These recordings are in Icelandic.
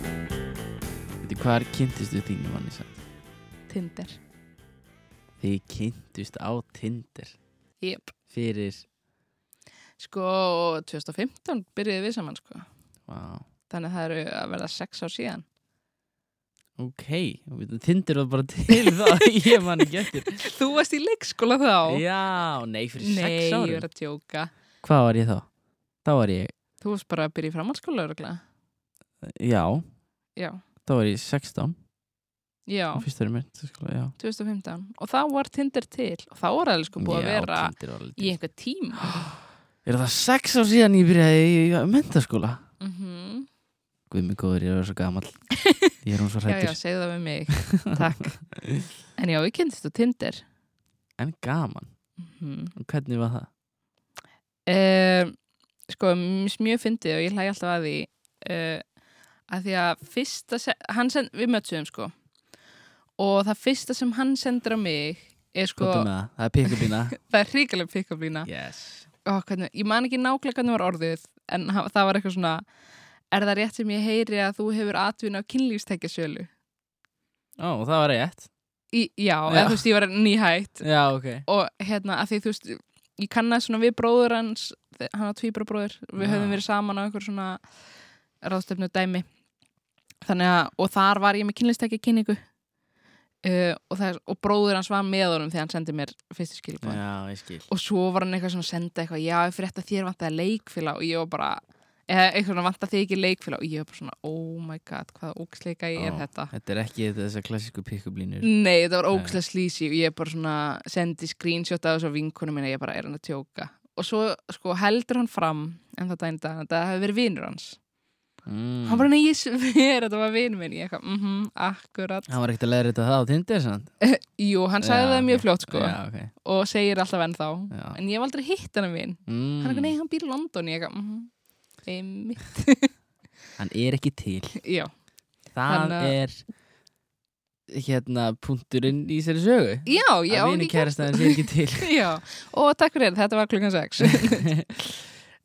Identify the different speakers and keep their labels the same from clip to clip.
Speaker 1: Veitir, hvað er kynntistu þínu manni sem?
Speaker 2: Tinder
Speaker 1: Þið kynntust á Tinder
Speaker 2: Jep
Speaker 1: fyrir,
Speaker 2: Sko, 2015 byrjuði við saman sko
Speaker 1: vá,
Speaker 2: Þannig að það eru að verða sex ár síðan
Speaker 1: ok, veitir, Tinder var bara til það, ég man ekki eftir.
Speaker 2: Þú varst í leikskóla þá
Speaker 1: Já, nei, fyrir
Speaker 2: Nei,
Speaker 1: sex
Speaker 2: ég
Speaker 1: árum.
Speaker 2: er að tjóka
Speaker 1: Hvað var ég þá? Þá var ég,
Speaker 2: Þú varst bara að byrja í framhaldsskóla örgla
Speaker 1: já,
Speaker 2: Já,
Speaker 1: þá var ég 16,
Speaker 2: já,
Speaker 1: fyrst verið mér, skoða, já.
Speaker 2: 2015 Og þá var Tinder til Og þá var það sko
Speaker 1: Já,
Speaker 2: búið að vera
Speaker 1: Tinder var alveg
Speaker 2: í
Speaker 1: til.
Speaker 2: einhver tíma
Speaker 1: Er það sex ár síðan ég byrjaði í mentaskóla?
Speaker 2: mm -hmm.
Speaker 1: Guð mig góður, ég er svo gamall. Ég er hún svo
Speaker 2: Já, já,
Speaker 1: hrættur.
Speaker 2: segðu það við mig Takk En já, ég kynntist á Tinder
Speaker 1: En gaman.
Speaker 2: mm.
Speaker 1: Og Hvernig var það?
Speaker 2: uh, sko, mjög, mjög fyndið og ég hlæg alltaf að því uh, að því að fyrsta se- hann send, við mötsuðum sko og það fyrsta sem hann sendir á mig er sko,
Speaker 1: Hvað er með um það? Það er pikkubína.
Speaker 2: það er hrikaleg pick-up-lína
Speaker 1: yes.
Speaker 2: Ó, hvernig, ég man ekki nákvæmlega hvernig var orðið en ha- það var eitthvað svona er það rétt sem ég heyri að þú hefur atvinna á kynlífstekjasölu
Speaker 1: Ó, það var rétt.
Speaker 2: í, já,
Speaker 1: Já.
Speaker 2: eða þú veist, ég var nýhætt
Speaker 1: Já, ok.
Speaker 2: og hérna, að því þú veist ég kannast svona við bróður hans þe- hann var tvíbrabróður, við
Speaker 1: Já.
Speaker 2: höfum verið saman á einhver svona ráðstöfnu dæmi þannig að, og þar var ég með kynlistækja kynningu uh, og, það, og bróður hans var með honum þegar hann sendi mér fyrstu skilbúin
Speaker 1: Já, ég skil.
Speaker 2: og svo var hann eitthvað svona að senda eitthvað já, ég frétt að þér vantaði leikfélag og ég var bara eða eitthvað svona vantaði þig ekki leikfélag og ég var bara svona, oh my god, hvaða óksleika ég er
Speaker 1: Ó.
Speaker 2: þetta
Speaker 1: Þetta er ekki þessar klassíku pikkublínur.
Speaker 2: Nei, þetta var
Speaker 1: Nei.
Speaker 2: ógæslega slísi og ég bara svona sendi screenshot af þessu á vinkonu minna, ég bara er hann að tjóka. Og svo sko heldur hann fram en það dændi að það hefði verið vinur hans.
Speaker 1: Mm.
Speaker 2: Hann bara, nei, ég sver að það var vinur minn. Ég eitthvað, mhm, akkurat.
Speaker 1: Hann var ekkert að leiðrita það á Tinder, sant?
Speaker 2: Jú, hann sagði
Speaker 1: Já,
Speaker 2: það mjög
Speaker 1: ok.
Speaker 2: fljótt sko
Speaker 1: Já, ok.
Speaker 2: og segir alltaf enn þá.
Speaker 1: Já.
Speaker 2: En ég hef aldrei hitt hann að vin.
Speaker 1: Mm.
Speaker 2: Hann er eitthvað, nei, hann býr í London. Ég eitthvað, mhm, einmitt.
Speaker 1: Hann er ekki til.
Speaker 2: Já,
Speaker 1: Það
Speaker 2: Hann, uh,
Speaker 1: er hérna punkturinn í sér sögu.
Speaker 2: já, já.
Speaker 1: Að vinu kærasta hans er ekki til.
Speaker 2: Já, og takk fyrir, þetta var klukkan 6.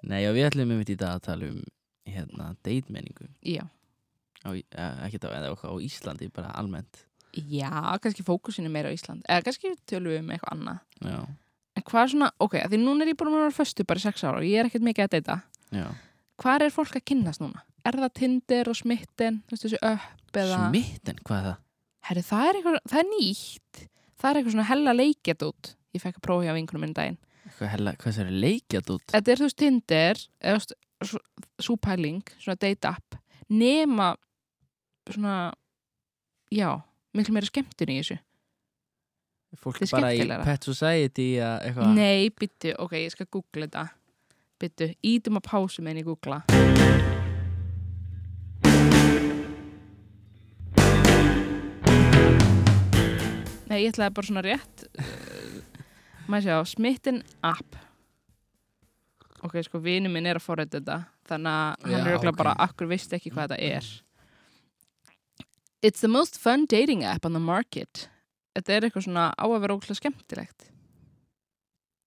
Speaker 1: Nei, og við ætlum einmitt í dag að tala um hérna, deitmenningu
Speaker 2: já.
Speaker 1: á, eh, ekkert á, eða okkar á Íslandi, bara almennt
Speaker 2: Já, kannski fókusinu meira á Ísland eða kannski tölum við um eitthvað annað
Speaker 1: Já,
Speaker 2: en hvað er svona, ok, að því núna er ég búin að vera föstu bara í sex ára og ég er ekkert mikið að deyta
Speaker 1: já
Speaker 2: hvað er fólk að kynnast núna? Er það Tinder og smitten, þú veist þessu upp eða,
Speaker 1: Smitten, hvað er það?
Speaker 2: herri, það er eitthvað það er nýtt, það er eitthvað svona hella leikjað út, ég fekk að prófa hjá vinkunum minn daginn,
Speaker 1: Hvað, hella, hvað það er leikjað út?
Speaker 2: þetta er þú veist Tinder eða þú veist, svo pæling svona date app, nema svona já, miklu meira skemmtun í þessu
Speaker 1: Fólk
Speaker 2: þetta er
Speaker 1: bara í
Speaker 2: skemmtilegra.
Speaker 1: Pet Society eða eitthvað
Speaker 2: Nei, byttu, ok, ég skal googla þetta Byttu, ítum að pásu meðan ég googla Nei, ég ætlaði bara svona rétt eh, Maður sjá, smittin app Ok, sko, vinu minn er að forrið þetta Þannig að hann
Speaker 1: Já,
Speaker 2: er örugglega
Speaker 1: ok.
Speaker 2: bara Akkur veist ekki hvað þetta er It's the most fun dating app on the market Þetta er eitthvað svona á að vera óklæð skemmtilegt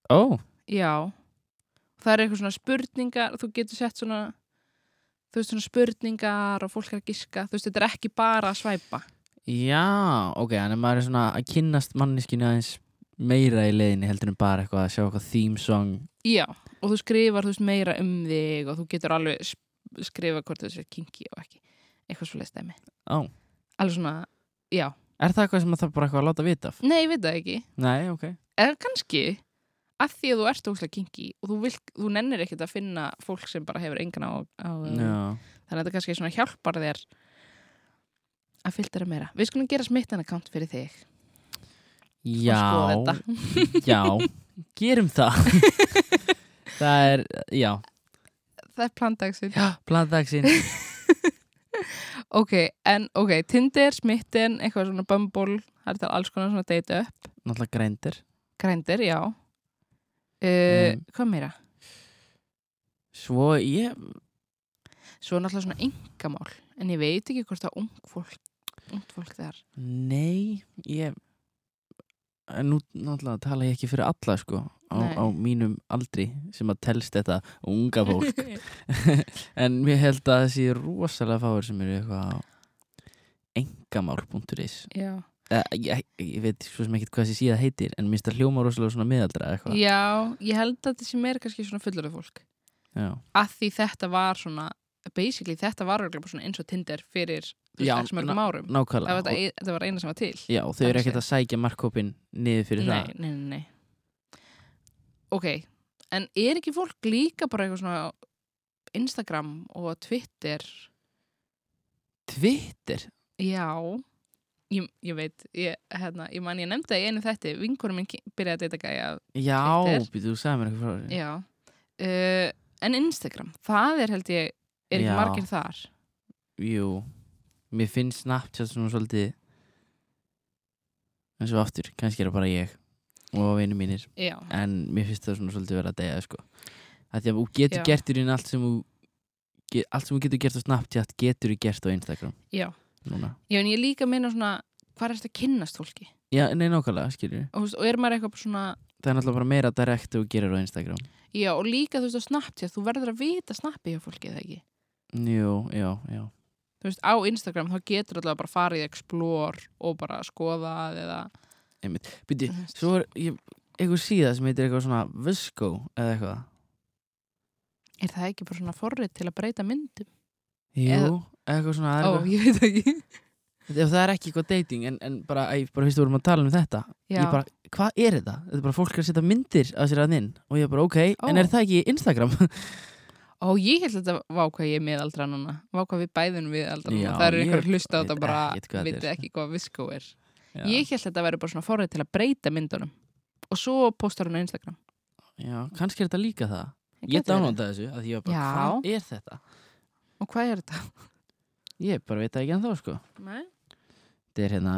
Speaker 1: Ó,
Speaker 2: Já Það er eitthvað svona spurningar þú getur sett svona þú veist svona spurningar og fólk er að giska þú veist þetta er ekki bara að svæpa
Speaker 1: já, ok, þannig að maður er svona að kynnast manneskinu aðeins meira í leiðinni heldur en bara eitthvað að sjá eitthvað theme song
Speaker 2: Já, og þú skrifar þú veist meira um þig og þú getur alveg sp- skrifa hvort þú sér kinki og ekki eitthvað svo leist dæmi
Speaker 1: Ó,
Speaker 2: Alveg svona, já,
Speaker 1: er það eitthvað sem maður þarf bara eitthvað að láta vita af?
Speaker 2: nei, ég veit það ekki
Speaker 1: Nei, ok
Speaker 2: eða kannski að því að þú ert óslega kinki og þú, vilt, þú nennir ekkert að finna fólk sem bara hefur engan á, á
Speaker 1: Já,
Speaker 2: þannig að þetta kannski svona hjálpar þér að filtera meira við skulum gera smittan account fyrir þig
Speaker 1: já,
Speaker 2: skoða
Speaker 1: já Gerum það Það er, já
Speaker 2: það er plandagsinn
Speaker 1: Já, plandagsinn
Speaker 2: ok, en ok, Tinder, smittin, eitthvað svona Bumble það er þetta alls konar svona date up
Speaker 1: Náttúrulega greindir
Speaker 2: Grindr, já uh,
Speaker 1: Mm.
Speaker 2: hvað meira?
Speaker 1: Svo ég,
Speaker 2: svo er náttúrulega svona yngamál en ég veit ekki hvort það ung fólk ungt fólk þar
Speaker 1: nei Ég en Nú náttúrulega tala ég ekki fyrir alla sko á,
Speaker 2: Nei.
Speaker 1: á mínum aldri sem að telst þetta unga fólk en mér held að það sé rosalega fáir sem eru eitthvað á engamál.is
Speaker 2: já.
Speaker 1: Eh, ég, ég, ég veit svo sem ekkert hvað þessi síða heitir en minnst að hljóma rosalega svona miðaldra eða eitthvað
Speaker 2: já, ég held að þetta sé meira kannski svona fullurðu fólk
Speaker 1: Já.
Speaker 2: að því þetta var svona basically þetta var örugglega bara svona eins og Tinder fyrir þú veist,
Speaker 1: Já,
Speaker 2: ekki mörgum árum það
Speaker 1: nákvæmlega
Speaker 2: var, þetta, þetta var eina sem var til
Speaker 1: Já, og þau eru ekkert að sækja markkópin niður fyrir
Speaker 2: nei, nei, nei, nei ok, en er ekki fólk líka bara eitthvað svona á Instagram og Twitter
Speaker 1: það Twitter?
Speaker 2: já ég, ég veit, ég, hérna, ég man ég nefndi það í einu þetta, vinkurum minn ki- byrjaði að deyta gæja
Speaker 1: Já,
Speaker 2: Twitter.
Speaker 1: býtu, þú sagði mér eitthvað frá því
Speaker 2: já uh, en Instagram, það er held ég er ekki
Speaker 1: Já.
Speaker 2: margir þar
Speaker 1: Jú, mér finnst Snapchat svona svolítið eins og aftur, kannski er það bara ég og vinnu mínir,
Speaker 2: já,
Speaker 1: en mér finnst það svona svolítið vera að deyja, sko að Því að þú getur
Speaker 2: Já.
Speaker 1: gert í raun allt sem þú ge- allt sem þú getur gert á Snapchat getur þú gert á Instagram
Speaker 2: já,
Speaker 1: núna
Speaker 2: já en ég líka meina svona hvað er þetta að kynnast fólki
Speaker 1: Já, nei, nákvæmlega, skilur
Speaker 2: og, þú veist, og er maður eitthvað svona
Speaker 1: Það er náttúrulega bara meira direkt þú gerir á Instagram
Speaker 2: já, og líka þú veist á Snapchat, þú verður að vita snappi hjá fólki eða ekki
Speaker 1: Jú, já, já
Speaker 2: þú veist, á Instagram þá getur alltaf bara farið í explore og bara skoða eða Mhm.
Speaker 1: Býtu,
Speaker 2: Þú veist.
Speaker 1: svo er ég, eitthvað síða sem heitir eitthvað svona Visco eða eitthvað
Speaker 2: er það ekki bara svona forrið til að breyta myndum?
Speaker 1: Jú,
Speaker 2: Eða-
Speaker 1: eitthvað svona það er
Speaker 2: Ó, ég veit ekki
Speaker 1: eitthvað, ef Það er ekki eitthvað dating en, en bara, æ, bara fyrst við vorum að tala um þetta
Speaker 2: Já,
Speaker 1: Ég bara, hvað er þetta? Þetta er bara fólk að setja myndir af sér að inn og ég bara, ok, en
Speaker 2: Ó.
Speaker 1: er það ekki Instagram?
Speaker 2: ó, ég held að þetta vá hvað ég er miðaldra núna vá hvað við bæðum miðaldra núna
Speaker 1: Já,
Speaker 2: það eru
Speaker 1: ég
Speaker 2: einhver hlusta á
Speaker 1: veit
Speaker 2: þetta bara
Speaker 1: ekkert hvað þetta
Speaker 2: veit
Speaker 1: er.
Speaker 2: ekki hvað viskó er
Speaker 1: Já,
Speaker 2: ég held að þetta verður bara svona forrið til að breyta myndunum og svo postar hún á Instagram
Speaker 1: já kannski er þetta líka það
Speaker 2: Það
Speaker 1: Ég
Speaker 2: gæti verið.
Speaker 1: dánóta þessu, að ég var bara,
Speaker 2: Já.
Speaker 1: hvað er þetta?
Speaker 2: og hvað er þetta?
Speaker 1: Ég bara veit það ekki en þá, sko
Speaker 2: Nei?
Speaker 1: Þetta er hérna,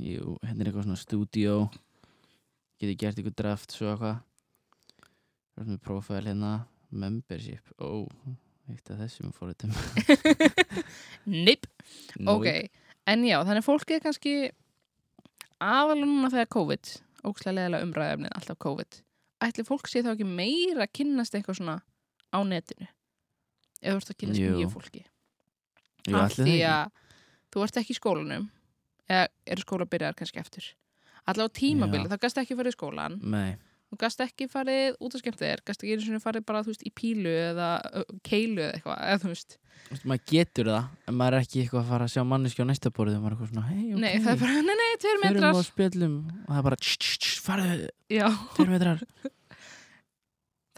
Speaker 1: jú, hérna er eitthvað svona stúdíó Getið gert ykkur draft svo eitthvað Það er svona profil hérna Membership, ó Eitt af þessum fóruðum
Speaker 2: Nip, ok en já, þannig að fólk er kannski aðalega núna þegar COVID ókslega leðilega umræðefnið alltaf COVID ætli fólk sé þá ekki meira að kynnast eitthvað svona á netinu ef þú ert að kynnast
Speaker 1: Jú.
Speaker 2: nýju fólki
Speaker 1: Jú,
Speaker 2: Af
Speaker 1: ætli
Speaker 2: því
Speaker 1: það
Speaker 2: að þú ert ekki í skólanum eða eru skóla byrjar kannski eftir allavega á tímabili,
Speaker 1: Já.
Speaker 2: þá gast ekki farið í skólan
Speaker 1: ekki Nei,
Speaker 2: þú gast ekki farið út að skemmt þér gast ekki einu sinni farið bara, þú veist, í pílu eða ö, keilu eða eitthvað, eða þú veist
Speaker 1: Þú veist, maður getur það En maður er ekki eitthvað að fara að sjá manneski á næsta borðið Maður er eitthvað svona, hei, ok
Speaker 2: nei, það er bara, nei, nei, tveir
Speaker 1: Förum
Speaker 2: metrar
Speaker 1: og spjöllum Og það er bara, tss, tss, tss, farðu,
Speaker 2: já
Speaker 1: tveir metrar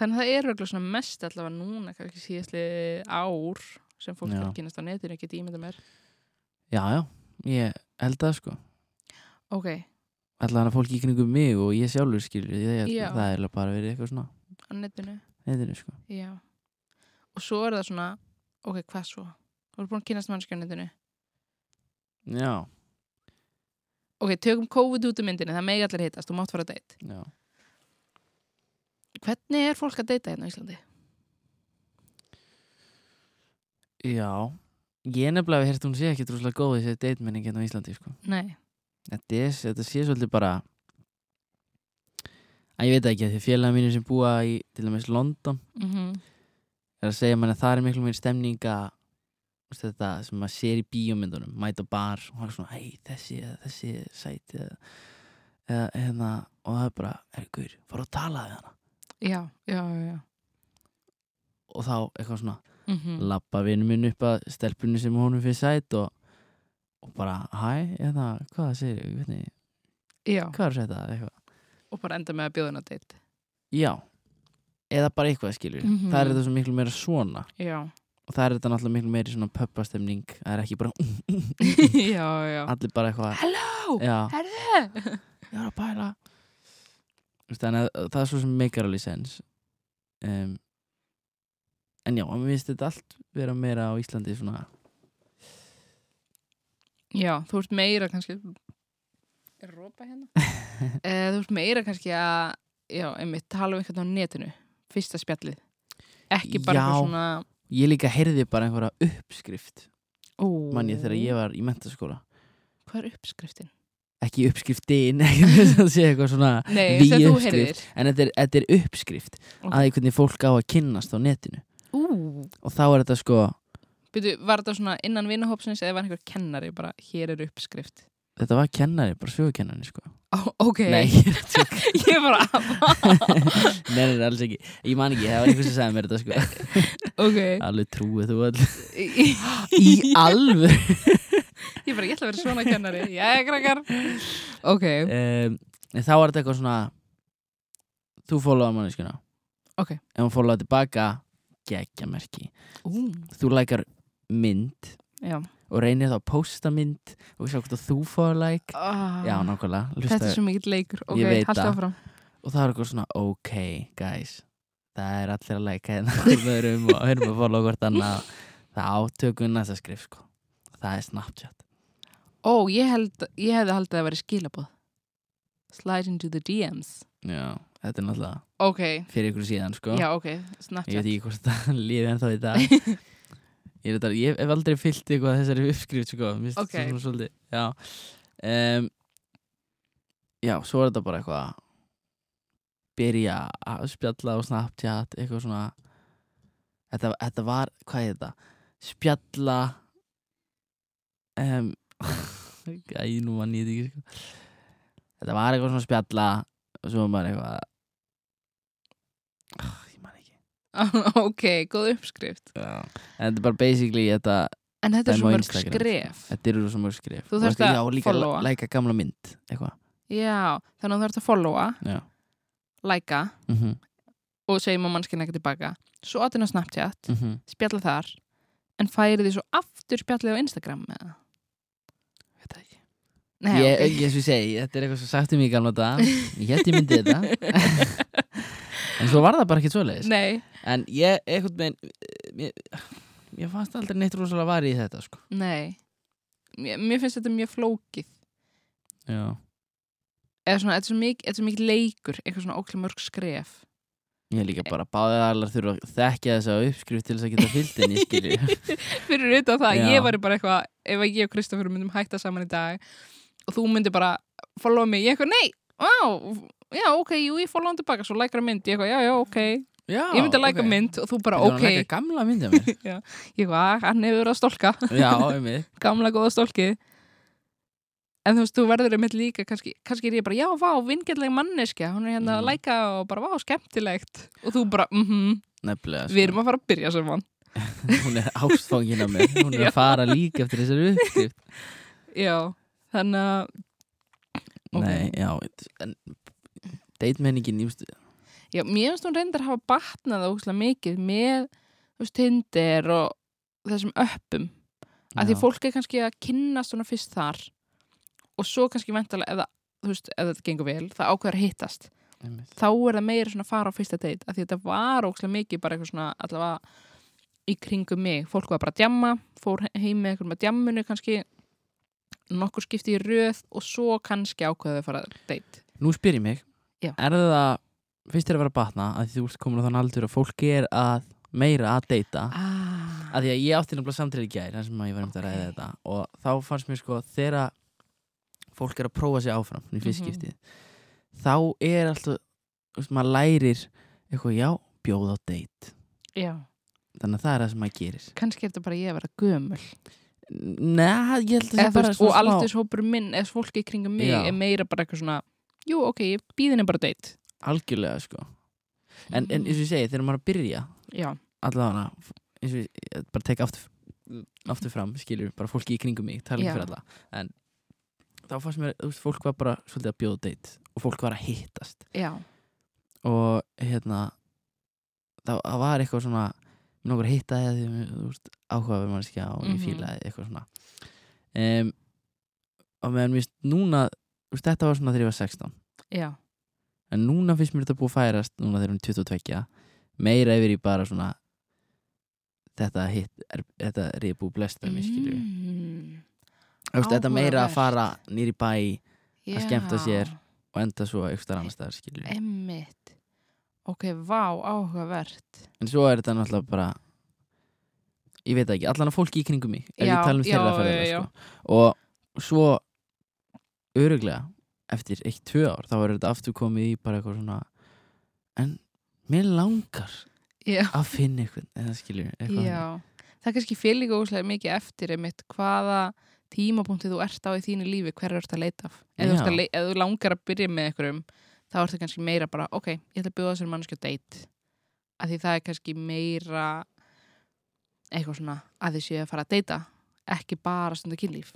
Speaker 2: Þannig að það er auðvitað svona mest allavega núna, kannski síðastli ár sem fólk
Speaker 1: Já.
Speaker 2: er að kynast á netinu, geti ímynda mér.
Speaker 1: Já, já, ég held það sko
Speaker 2: Ok,
Speaker 1: Ætla hann að fólk í kringum mig og ég sjálfur skilur Það
Speaker 2: Já.
Speaker 1: er eiginlega bara verið eitthvað svona
Speaker 2: á netinu,
Speaker 1: Neiðinu sko
Speaker 2: já. Og svo er það svona, ok, hvað svo? Þú eru búin að kynast mannskja á netinu.
Speaker 1: Já,
Speaker 2: Ok, tökum COVID út um myndinu, það megi allir hittast, þú mátt fara að deitt.
Speaker 1: já
Speaker 2: Hvernig er fólk að deita hérna á Íslandi?
Speaker 1: Já, ég nefnilega hef hérst hún sé ekki droslega góð í þessi deitmenning hérna á Íslandi sko.
Speaker 2: Nei,
Speaker 1: þetta, er, þetta sé svolítið bara að ég veit það ekki að því félagar mínu sem búa í til dæmis London
Speaker 2: mm
Speaker 1: er að segja mann að það er miklu meir stemning að þú veist, þetta sem maður sér í bíómyndunum mæta á bar og það er svona hei þessi eða þessi er sæti eða, eða hérna og það er bara er guður, fara að tala við hana
Speaker 2: já, já, já, já.
Speaker 1: og þá eitthvað svona
Speaker 2: Mm
Speaker 1: lappa vinnu minn upp að stelpunni sem honum fyrir sæt og, og bara hæ, eða hvað segir ég, hvernig
Speaker 2: Já,
Speaker 1: hvað er þetta eitthvað
Speaker 2: og bara enda með að bjóða hérna að deitt.
Speaker 1: já, eða bara eitthvað skilur
Speaker 2: Mhm.
Speaker 1: það er þetta svo miklu meira svona
Speaker 2: Já,
Speaker 1: og það er þetta náttúrulega miklu meiri svona pöppastemning það er ekki bara
Speaker 2: já, já.
Speaker 1: allir bara eitthvað
Speaker 2: Hello,
Speaker 1: já,
Speaker 2: herðu!
Speaker 1: ég er að pæla Þú veist, þannig að það er svo sem meikar alveg sens um, en já, mér finnst þetta allt vera meira á Íslandi svona
Speaker 2: Já, þú ert meira kannski Er rópa hérna? Eh, þú ert meira kannski að Já, einmitt, tala um einhvern á netinu Fyrsta spjallið Ekki bara
Speaker 1: Já.
Speaker 2: eitthvað svona
Speaker 1: ég líka heyrði bara einhverja uppskrift
Speaker 2: ó,
Speaker 1: mann ég þegar ég var í mentaskóla
Speaker 2: Hvað er uppskriftin?
Speaker 1: ekki uppskriftin ekki þess að sé eitthvað svona
Speaker 2: Nei,
Speaker 1: ný
Speaker 2: sem þú
Speaker 1: uppskrift.
Speaker 2: heyrðir
Speaker 1: en þetta er, þetta er uppskrift
Speaker 2: Ok.
Speaker 1: að því hvernig fólk á að kynnast á netinu
Speaker 2: Ú,
Speaker 1: og þá er þetta sko
Speaker 2: byrju, var þetta svona innan vinahópsins eða var einhver kennari bara, hér er uppskrift
Speaker 1: þetta var kennari, bara sögukennari sko
Speaker 2: Ó, Ok,
Speaker 1: nei, ég er að tjóka.
Speaker 2: ég bara
Speaker 1: nei, nei, nei, alls ekki ég man ekki, það var einhvers sem sagði mér þetta sko
Speaker 2: Ok,
Speaker 1: alveg trúið þú all
Speaker 2: ég
Speaker 1: í alvöru
Speaker 2: ég bara, ég ætla að vera svona kennari Jæja, krakkar Ok,
Speaker 1: um, en þá var þetta eitthvað svona þú fólóðar manneskuna
Speaker 2: Ok.
Speaker 1: ef hún fólóðar tilbaka geggja merki
Speaker 2: ú,
Speaker 1: þú lækar mynd
Speaker 2: já
Speaker 1: og reynir þá að posta mynd og sjá hvort að þú fóðar læk
Speaker 2: ah,
Speaker 1: já nákvæmlega
Speaker 2: Þetta
Speaker 1: hlusta-
Speaker 2: er svo mikill leikur Ok,
Speaker 1: Ég veit
Speaker 2: haltu
Speaker 1: það.
Speaker 2: áfram
Speaker 1: og það var eitthvað svona ok guys það er allir að læka hérna hvort við erum og erum að fólóða hvort annað það átökum við næsta skrif sko það er Snapchat
Speaker 2: Ó, ég, held, ég hefði haldið að það væri skilaboð Slide into the DMs
Speaker 1: já þetta er náttúrulega
Speaker 2: Ok,
Speaker 1: fyrir ykkur síðan sko
Speaker 2: já, ok,
Speaker 1: Ég veit
Speaker 2: Snapchat
Speaker 1: ekki hvort það lífi ennþá í dag Ég, er þetta- ég hef aldrei fyllt eitthvað þessari uppskrift sko. Mér finnst
Speaker 2: Ok.
Speaker 1: þetta svona svolítið Já um, Já, svo er þetta bara eitthvað að Byrja að spjalla á Snapchat Eitthvað svona Þetta, þetta var, hvað er þetta? Spjalla um, Æ, nú mann ég þetta ekki sko. Þetta var eitthvað svona spjalla Og svo var maður eitthvað Ah, Ég man ekki
Speaker 2: Ok, góð uppskrift
Speaker 1: Já. En þetta er bara basically þetta,
Speaker 2: En þetta er
Speaker 1: Dæmi
Speaker 2: svo
Speaker 1: á
Speaker 2: mörg
Speaker 1: Instagram,
Speaker 2: skref
Speaker 1: þetta eru svo mörg skrif
Speaker 2: Þú
Speaker 1: Og
Speaker 2: þarft
Speaker 1: eitthvað-
Speaker 2: að
Speaker 1: já, og líka
Speaker 2: followa.
Speaker 1: Læka gamla mynd, eitthvað
Speaker 2: Já, þannig að þú ert að followa,
Speaker 1: Já,
Speaker 2: læka
Speaker 1: mm -hmm.
Speaker 2: og segjum að mannskinn ekki tilbaka Svo áttin á Snapchat,
Speaker 1: Mm -hmm.
Speaker 2: spjalla þar en færi því svo aftur spjallið á Instagram með það
Speaker 1: Þetta ekki
Speaker 2: Nei,
Speaker 1: Ég,
Speaker 2: ok.
Speaker 1: okay. ég, ég segi, þetta er eitthvað svo sagt um í gamla dag Ég hætti myndi þetta En svo var það bara ekki svoleiðis
Speaker 2: Nei,
Speaker 1: En ég, einhvern veginn Ég, ég fannst aldrei neitt rosalega varið í þetta sko.
Speaker 2: nei Mér, mér finnst þetta mjög flókið
Speaker 1: Já
Speaker 2: eða svona, þetta er svo mikið, þetta er svo mikið leikur eitthvað svona ókla mörg skref
Speaker 1: Ég líka bara báðið allar þurfa að þekkja þessa uppskrift til þess að geta fyllt inn í skilju
Speaker 2: fyrir utan það,
Speaker 1: Já.
Speaker 2: ég væri bara eitthvað ef að ég og Kristoffer myndum hætta saman í dag og þú myndir bara followa mig, ég eitthvað, nei, á já, ok, jú, ég followa hann tilbaka, svo lækra mynd ég eitthvað, já, já, ok,
Speaker 1: Já,
Speaker 2: ég myndi að læka mynd og þú bara,
Speaker 1: Þetta var
Speaker 2: ok,
Speaker 1: að læka gamla myndi af mér
Speaker 2: ég eitthvað, "Ah, hann hefur verið að stólka
Speaker 1: Já, einmitt
Speaker 2: gamla góða stólkið en þú veist, þú verður einmitt líka kannski, kannski er ég bara, já, vá, vingjalleg manneskja hún er hérna að
Speaker 1: Mm.
Speaker 2: læka og bara, vá, skemmtilegt og þú bara, mhm,
Speaker 1: Nefnilega sko.
Speaker 2: við erum að fara að byrja saman
Speaker 1: hún er ástfangin af mér hún er
Speaker 2: Já.
Speaker 1: að fara líka eftir þessari uppskrift
Speaker 2: já, þannig að Ok.
Speaker 1: nei, já en deitmenningin, ég veist
Speaker 2: já, mér finnst hún reyndar að hafa batnað óslega mikið með, þú veist, Tinder og þessum öppum að því
Speaker 1: já,
Speaker 2: fólk er kannski að kynnast svona fyrst þar og svo kannski vantalega, ef það, þú veist, ef þetta gengur vel það ákveður að hittast
Speaker 1: einmitt.
Speaker 2: þá er það meira svona fara á fyrsta date af því þetta var ókslega mikið bara eitthvað svona allavega í kringum mig fólk var bara að djamma, fór he- heim með eitthvað með djammunu kannski nokkur skipti í röð og svo kannski ákveðu að fara að date
Speaker 1: nú spyr ég mig
Speaker 2: Já.
Speaker 1: er það, fyrst er að vera að batna að því þú ert komin á þann aldur að fólk er að meira að deyta
Speaker 2: ah.
Speaker 1: að því að ég átti nefnilega samtrið í gær þar sem að ég var um að ræða þetta og þá fannst mér sko þegar að fólk er að prófa sig áfram í fyrst
Speaker 2: Mhm.
Speaker 1: skiptið þá er alltaf, þú veist, maður lærir eitthvað, já, bjóð á deit
Speaker 2: Já,
Speaker 1: þannig að það er það sem maður gerir
Speaker 2: kannski er þetta bara ég að vera gömul
Speaker 1: Nei, ég held að það
Speaker 2: Eða, þú
Speaker 1: bara
Speaker 2: veist, og aldurshópur minn eða fólk í kringum mig
Speaker 1: Já.
Speaker 2: er meira bara eitthvað svona jú, ok, ég býðinni bara að date
Speaker 1: algjörlega sko en, en eins og ég segi, þegar maður er að byrja
Speaker 2: Já,
Speaker 1: allavega eins og ég, ég bara tek aftur, aftur fram skilur, bara fólki í kringum mig, tala
Speaker 2: Já.
Speaker 1: ekki fyrir alla en þá fannst mér, þú veist, fólk var bara svolítið að bjóða deitt og fólk var að hittast
Speaker 2: já,
Speaker 1: og hérna þá það var eitthvað svona mér nokkur hitta þig að því mér, þú veist, áhugaverð mannskja og ég
Speaker 2: Mhm.
Speaker 1: fílaði þig, eitthvað svona um, og meðan mér finnst núna þú veist, þetta var svona þegar ég var 16
Speaker 2: já
Speaker 1: en núna finnst mér þetta búið að færast núna þegar hún er 22 meira yfir í bara svona þetta hitt er, þetta er ég búið blest með mér skilju
Speaker 2: Mm,
Speaker 1: mm, þetta meira
Speaker 2: áhugavert.
Speaker 1: að fara nýri bæ Að skemmta
Speaker 2: já.
Speaker 1: sér. og enda svo eitthvað annars staðar skilju
Speaker 2: Eh. Emmitt. Ok, vá, áhugavert.
Speaker 1: en svo er þetta náttúrulega bara ég veit það ekki, allan að fólki í kringum mig ef
Speaker 2: Já,
Speaker 1: ég tala um
Speaker 2: já,
Speaker 1: þeirra
Speaker 2: já, já.
Speaker 1: fyrir sko. og svo öruglega eftir eitt, tvö ár þá er þetta aftur komið í bara eitthvað svona en mér langar
Speaker 2: já,
Speaker 1: að finna einhvern eða skilur eitthvað
Speaker 2: já. það er kannski fyrir líka óslega mikið eftir einmitt hvaða tímapunkti þú ert á í þínu lífi, hver ert að leita af ef þú,
Speaker 1: Já.
Speaker 2: ert að le ef þú langar að byrja með einhverjum þá ert það kannski meira bara, ok, ég ætla að bjóða þessari mannskjöld deitt af því það er kannski meira eitthvað svona að þið séu að fara að deyta ekki bara stundar kynlíf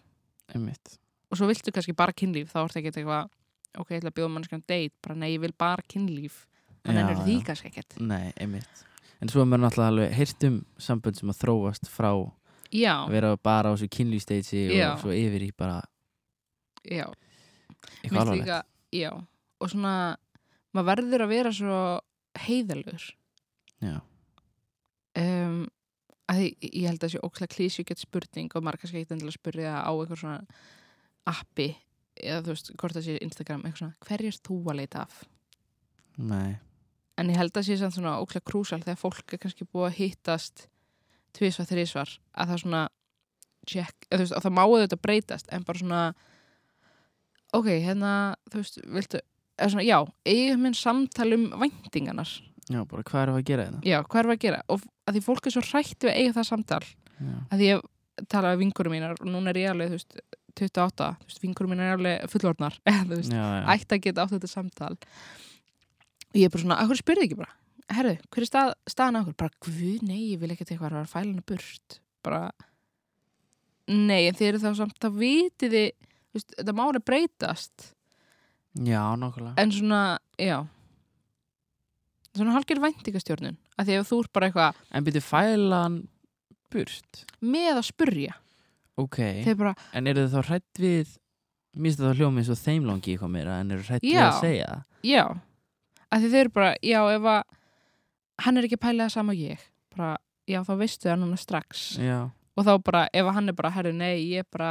Speaker 1: einmitt
Speaker 2: og svo viltu kannski bara kynlíf þá ertu ekkert eitthvað, ok, ég ætla að bjóða mannskjöld deitt bara nei, ég vil bara kynlíf þannig
Speaker 1: Já,
Speaker 2: er því
Speaker 1: já.
Speaker 2: kannski ekkert
Speaker 1: Nei, einmitt En svo er maður náttúrulega alveg heyrt um sambönd sem að þróast frá að
Speaker 2: já,
Speaker 1: vera bara á þessu kynlýsteitsi
Speaker 2: Já.
Speaker 1: og svo yfir í bara
Speaker 2: já
Speaker 1: eitthvað
Speaker 2: Mér finnst
Speaker 1: alvarlegt
Speaker 2: líka- Já, og svona maður verður að vera svo heiðalur
Speaker 1: Já,
Speaker 2: um, að því ég held að sé ókslega klísi gett spurning og maður kannski ekkert endilega spurði það á eitthvað svona appi eða þú veist, hvort það sé Instagram eitthvað svona, hverju er þú að leita af?
Speaker 1: nei,
Speaker 2: En ég held að sé samt svona ókslega krúsal þegar fólk er kannski búið að hittast tvisvar, þrisvar, að það svona check, eða þú veist, að það má auðvitað breytast en bara svona ok, hérna, þú veist, viltu eða svona, já, eigum minn samtal um væntinganar,
Speaker 1: já, bara hvað erum við að gera hérna? þetta?
Speaker 2: já, hvað er að gera og að því fólk er svo hrætt við að eiga það samtal
Speaker 1: Já,
Speaker 2: að því ég talaði við vingurum mínar og núna er ég alveg, þú veist, 28 þú veist, vingurum mínar er alveg fullorðnar eða þú veist,
Speaker 1: já, já,
Speaker 2: ætti að geta átt þetta samtal og ég er bara svona, að hverju spyrðu ekki bara herðu, hver er stað, staðan á okkur bara, guð, nei, ég vil ekkert eitthvað að fæla hana burt bara nei, en þið eru þá samt, þá vitið þið þú veist, þetta má hana breytast
Speaker 1: já nokkulega
Speaker 2: en svona, já svona halgir væntingastjórnun að því ef þú ert bara eitthvað
Speaker 1: En byrju fælan burt
Speaker 2: með að spurja
Speaker 1: Ok,
Speaker 2: þeir bara,
Speaker 1: en eru þið þá hrætt við Minnst það hljómið svo þeim langi í hvað meira En eru hrætt við
Speaker 2: Já.
Speaker 1: að segja það?
Speaker 2: já að því þeir eru bara, já, ef að hann er ekki að pæla það sama og ég bara, já, þá veistu það núna strax
Speaker 1: Já,
Speaker 2: og þá bara, ef hann er bara, herru, nei, ég er bara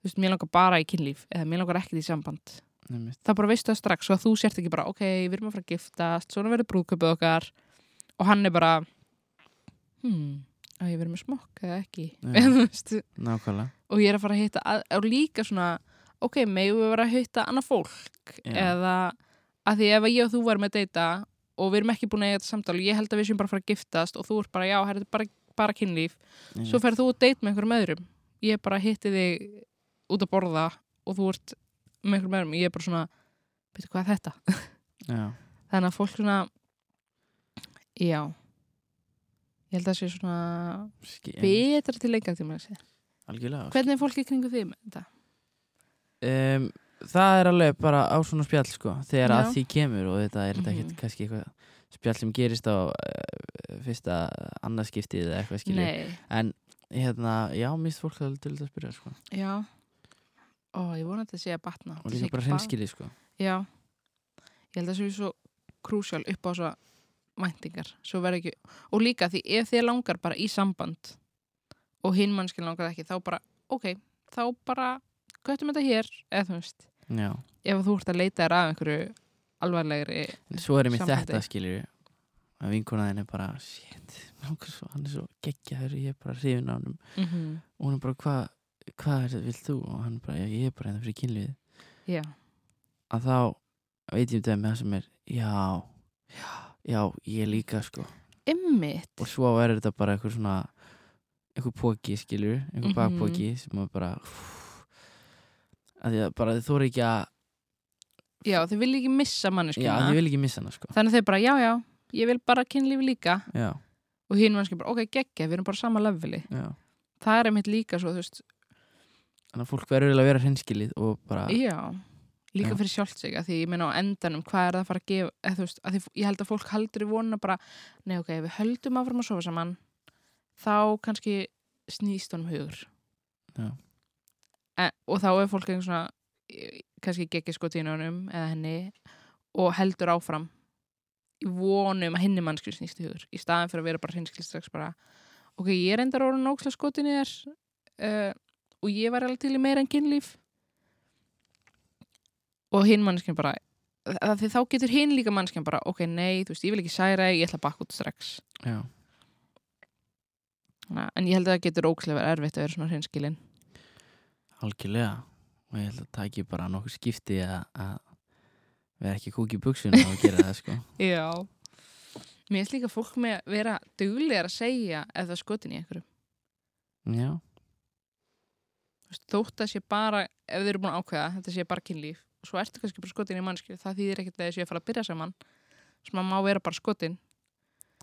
Speaker 2: þú veist, mér langar bara í kynlíf eða mér langar ekkert í samband
Speaker 1: einmitt
Speaker 2: þá bara veistu það strax og þú sért ekki bara, ok, við erum að fara að giftast svona verður brúðköpið okkar og hann er bara hmm, að ég verður með smokk eða ekki
Speaker 1: Já.
Speaker 2: Þú veist,
Speaker 1: Nákvæmlega
Speaker 2: og ég er að fara að hitta að, og líka svona, ok, megum við vera að hitta annað fólk
Speaker 1: Já.
Speaker 2: eða að því ef ég og þú varum að deyta og við erum ekki búin að eiga þetta samtal og ég held að við séum bara að fara að giftast og þú ert bara, já, herru, þetta er bara, bara kynlíf svo
Speaker 1: einmitt.
Speaker 2: ferð þú að date með einhverjum öðrum ég bara hitti þig út að borða og þú ert með einhverjum öðrum ég er bara svona, veitu hvað er þetta
Speaker 1: Já,
Speaker 2: þannig að fólk svona já ég held að það sé svona
Speaker 1: skil
Speaker 2: betra til lengra tíma þessi.
Speaker 1: Algjörlega
Speaker 2: hvernig er fólki kringu þig með þetta?
Speaker 1: um, það er alveg bara á svona spjall sko, þegar
Speaker 2: Já.
Speaker 1: að því kemur og þetta er þetta ekkert
Speaker 2: Mhm.
Speaker 1: kannski eitthvað spjall sem gerist á uh, fyrsta annarskiptið eða eitthvað skilur
Speaker 2: Nei,
Speaker 1: en hérna, já, mist fólk það til að spyrja sko,
Speaker 2: já ó, ég vona að þetta sé að batna
Speaker 1: og
Speaker 2: Þetta sé
Speaker 1: líka
Speaker 2: ekki
Speaker 1: bara hreinskilið sko
Speaker 2: já, ég held að það sé svo krúsjál upp á svo væntingar svo verð ekki, og líka því ef þið langar bara í samband og hinn mannskil langar ekki, þá bara ok, þá bara köttum þetta hér eða þú veist,
Speaker 1: já.
Speaker 2: ef þú ert að leita þér að einhverju alvarlegri
Speaker 1: En svo erum við
Speaker 2: Sambandi.
Speaker 1: þetta skilur að vinkonaðin er bara, shit langar svo, hann er svo geggjaður ég er bara hrifin á hann
Speaker 2: mm
Speaker 1: og hún er bara, hvað hva er þetta, vilt þú og hann er bara, "Já, ég er bara hérna fyrir kynlífið
Speaker 2: já,
Speaker 1: að þá veit ég um dæmi það sem er, já já, já, ég líka sko
Speaker 2: ymmit
Speaker 1: og svo er þetta bara eitthvað svona eitthvað póki skilur, eitthvað
Speaker 2: Mhm.
Speaker 1: mm sem er bara að því að bara þið þóra ekki að
Speaker 2: já, þau vilja ekki missa
Speaker 1: já, þið
Speaker 2: mannskina
Speaker 1: vil ekki missa hana sko
Speaker 2: þannig að þau bara, já, já, ég vil bara kynlífi líka
Speaker 1: já,
Speaker 2: og hinn mannskil bara, ok, geggja, við erum bara á sama leveli
Speaker 1: já.
Speaker 2: það er einmitt líka svo, þú veist,
Speaker 1: þannig að fólk verður eiginlega að vera hreinskilið og bara,
Speaker 2: Já, líka
Speaker 1: Já.
Speaker 2: fyrir sjálft sig að því ég meina á endanum hvað er það að fara að gefa eða, þú veist, að því, ég held að fólk haldur í vonuna bara nei ok, ef við höldum áfram að sofa saman þá kannski snýst honum hugur
Speaker 1: Já.
Speaker 2: en, og þá er fólk einhver svona eh, kannski geggi skotínu honum eða henni og heldur áfram í vonum að henni mannsku snýst hugur í staðan fyrir að vera bara hinskil strax bara ok, ég er endar orðin óksla skotinu þér uh, og ég var alveg til í meira en kynlíf og hinn manneskinn bara að því þá getur hinn líka manneskinn bara ok, nei, þú veist, ég vil ekki særa þig, ég ætla að bakka út strax
Speaker 1: já.
Speaker 2: Na, en ég held að það getur ókslega verið erfitt að vera svona hreinskilin
Speaker 1: algjörlega og ég held að taki bara nokkuð skipti að, að vera ekki kúk í buksuna og gera það sko
Speaker 2: Já Mér finnst líka fólk með að vera duglegar að segja ef það er skotin í einhverju
Speaker 1: já,
Speaker 2: Þú veist, þótt að sé bara, ef þið eru búin að ákveða þetta sé bara kynlíf, svo ertu kannski bara skotin í mannskju það þýðir ekkert að þessi að fara að byrja saman sem að má vera bara skotin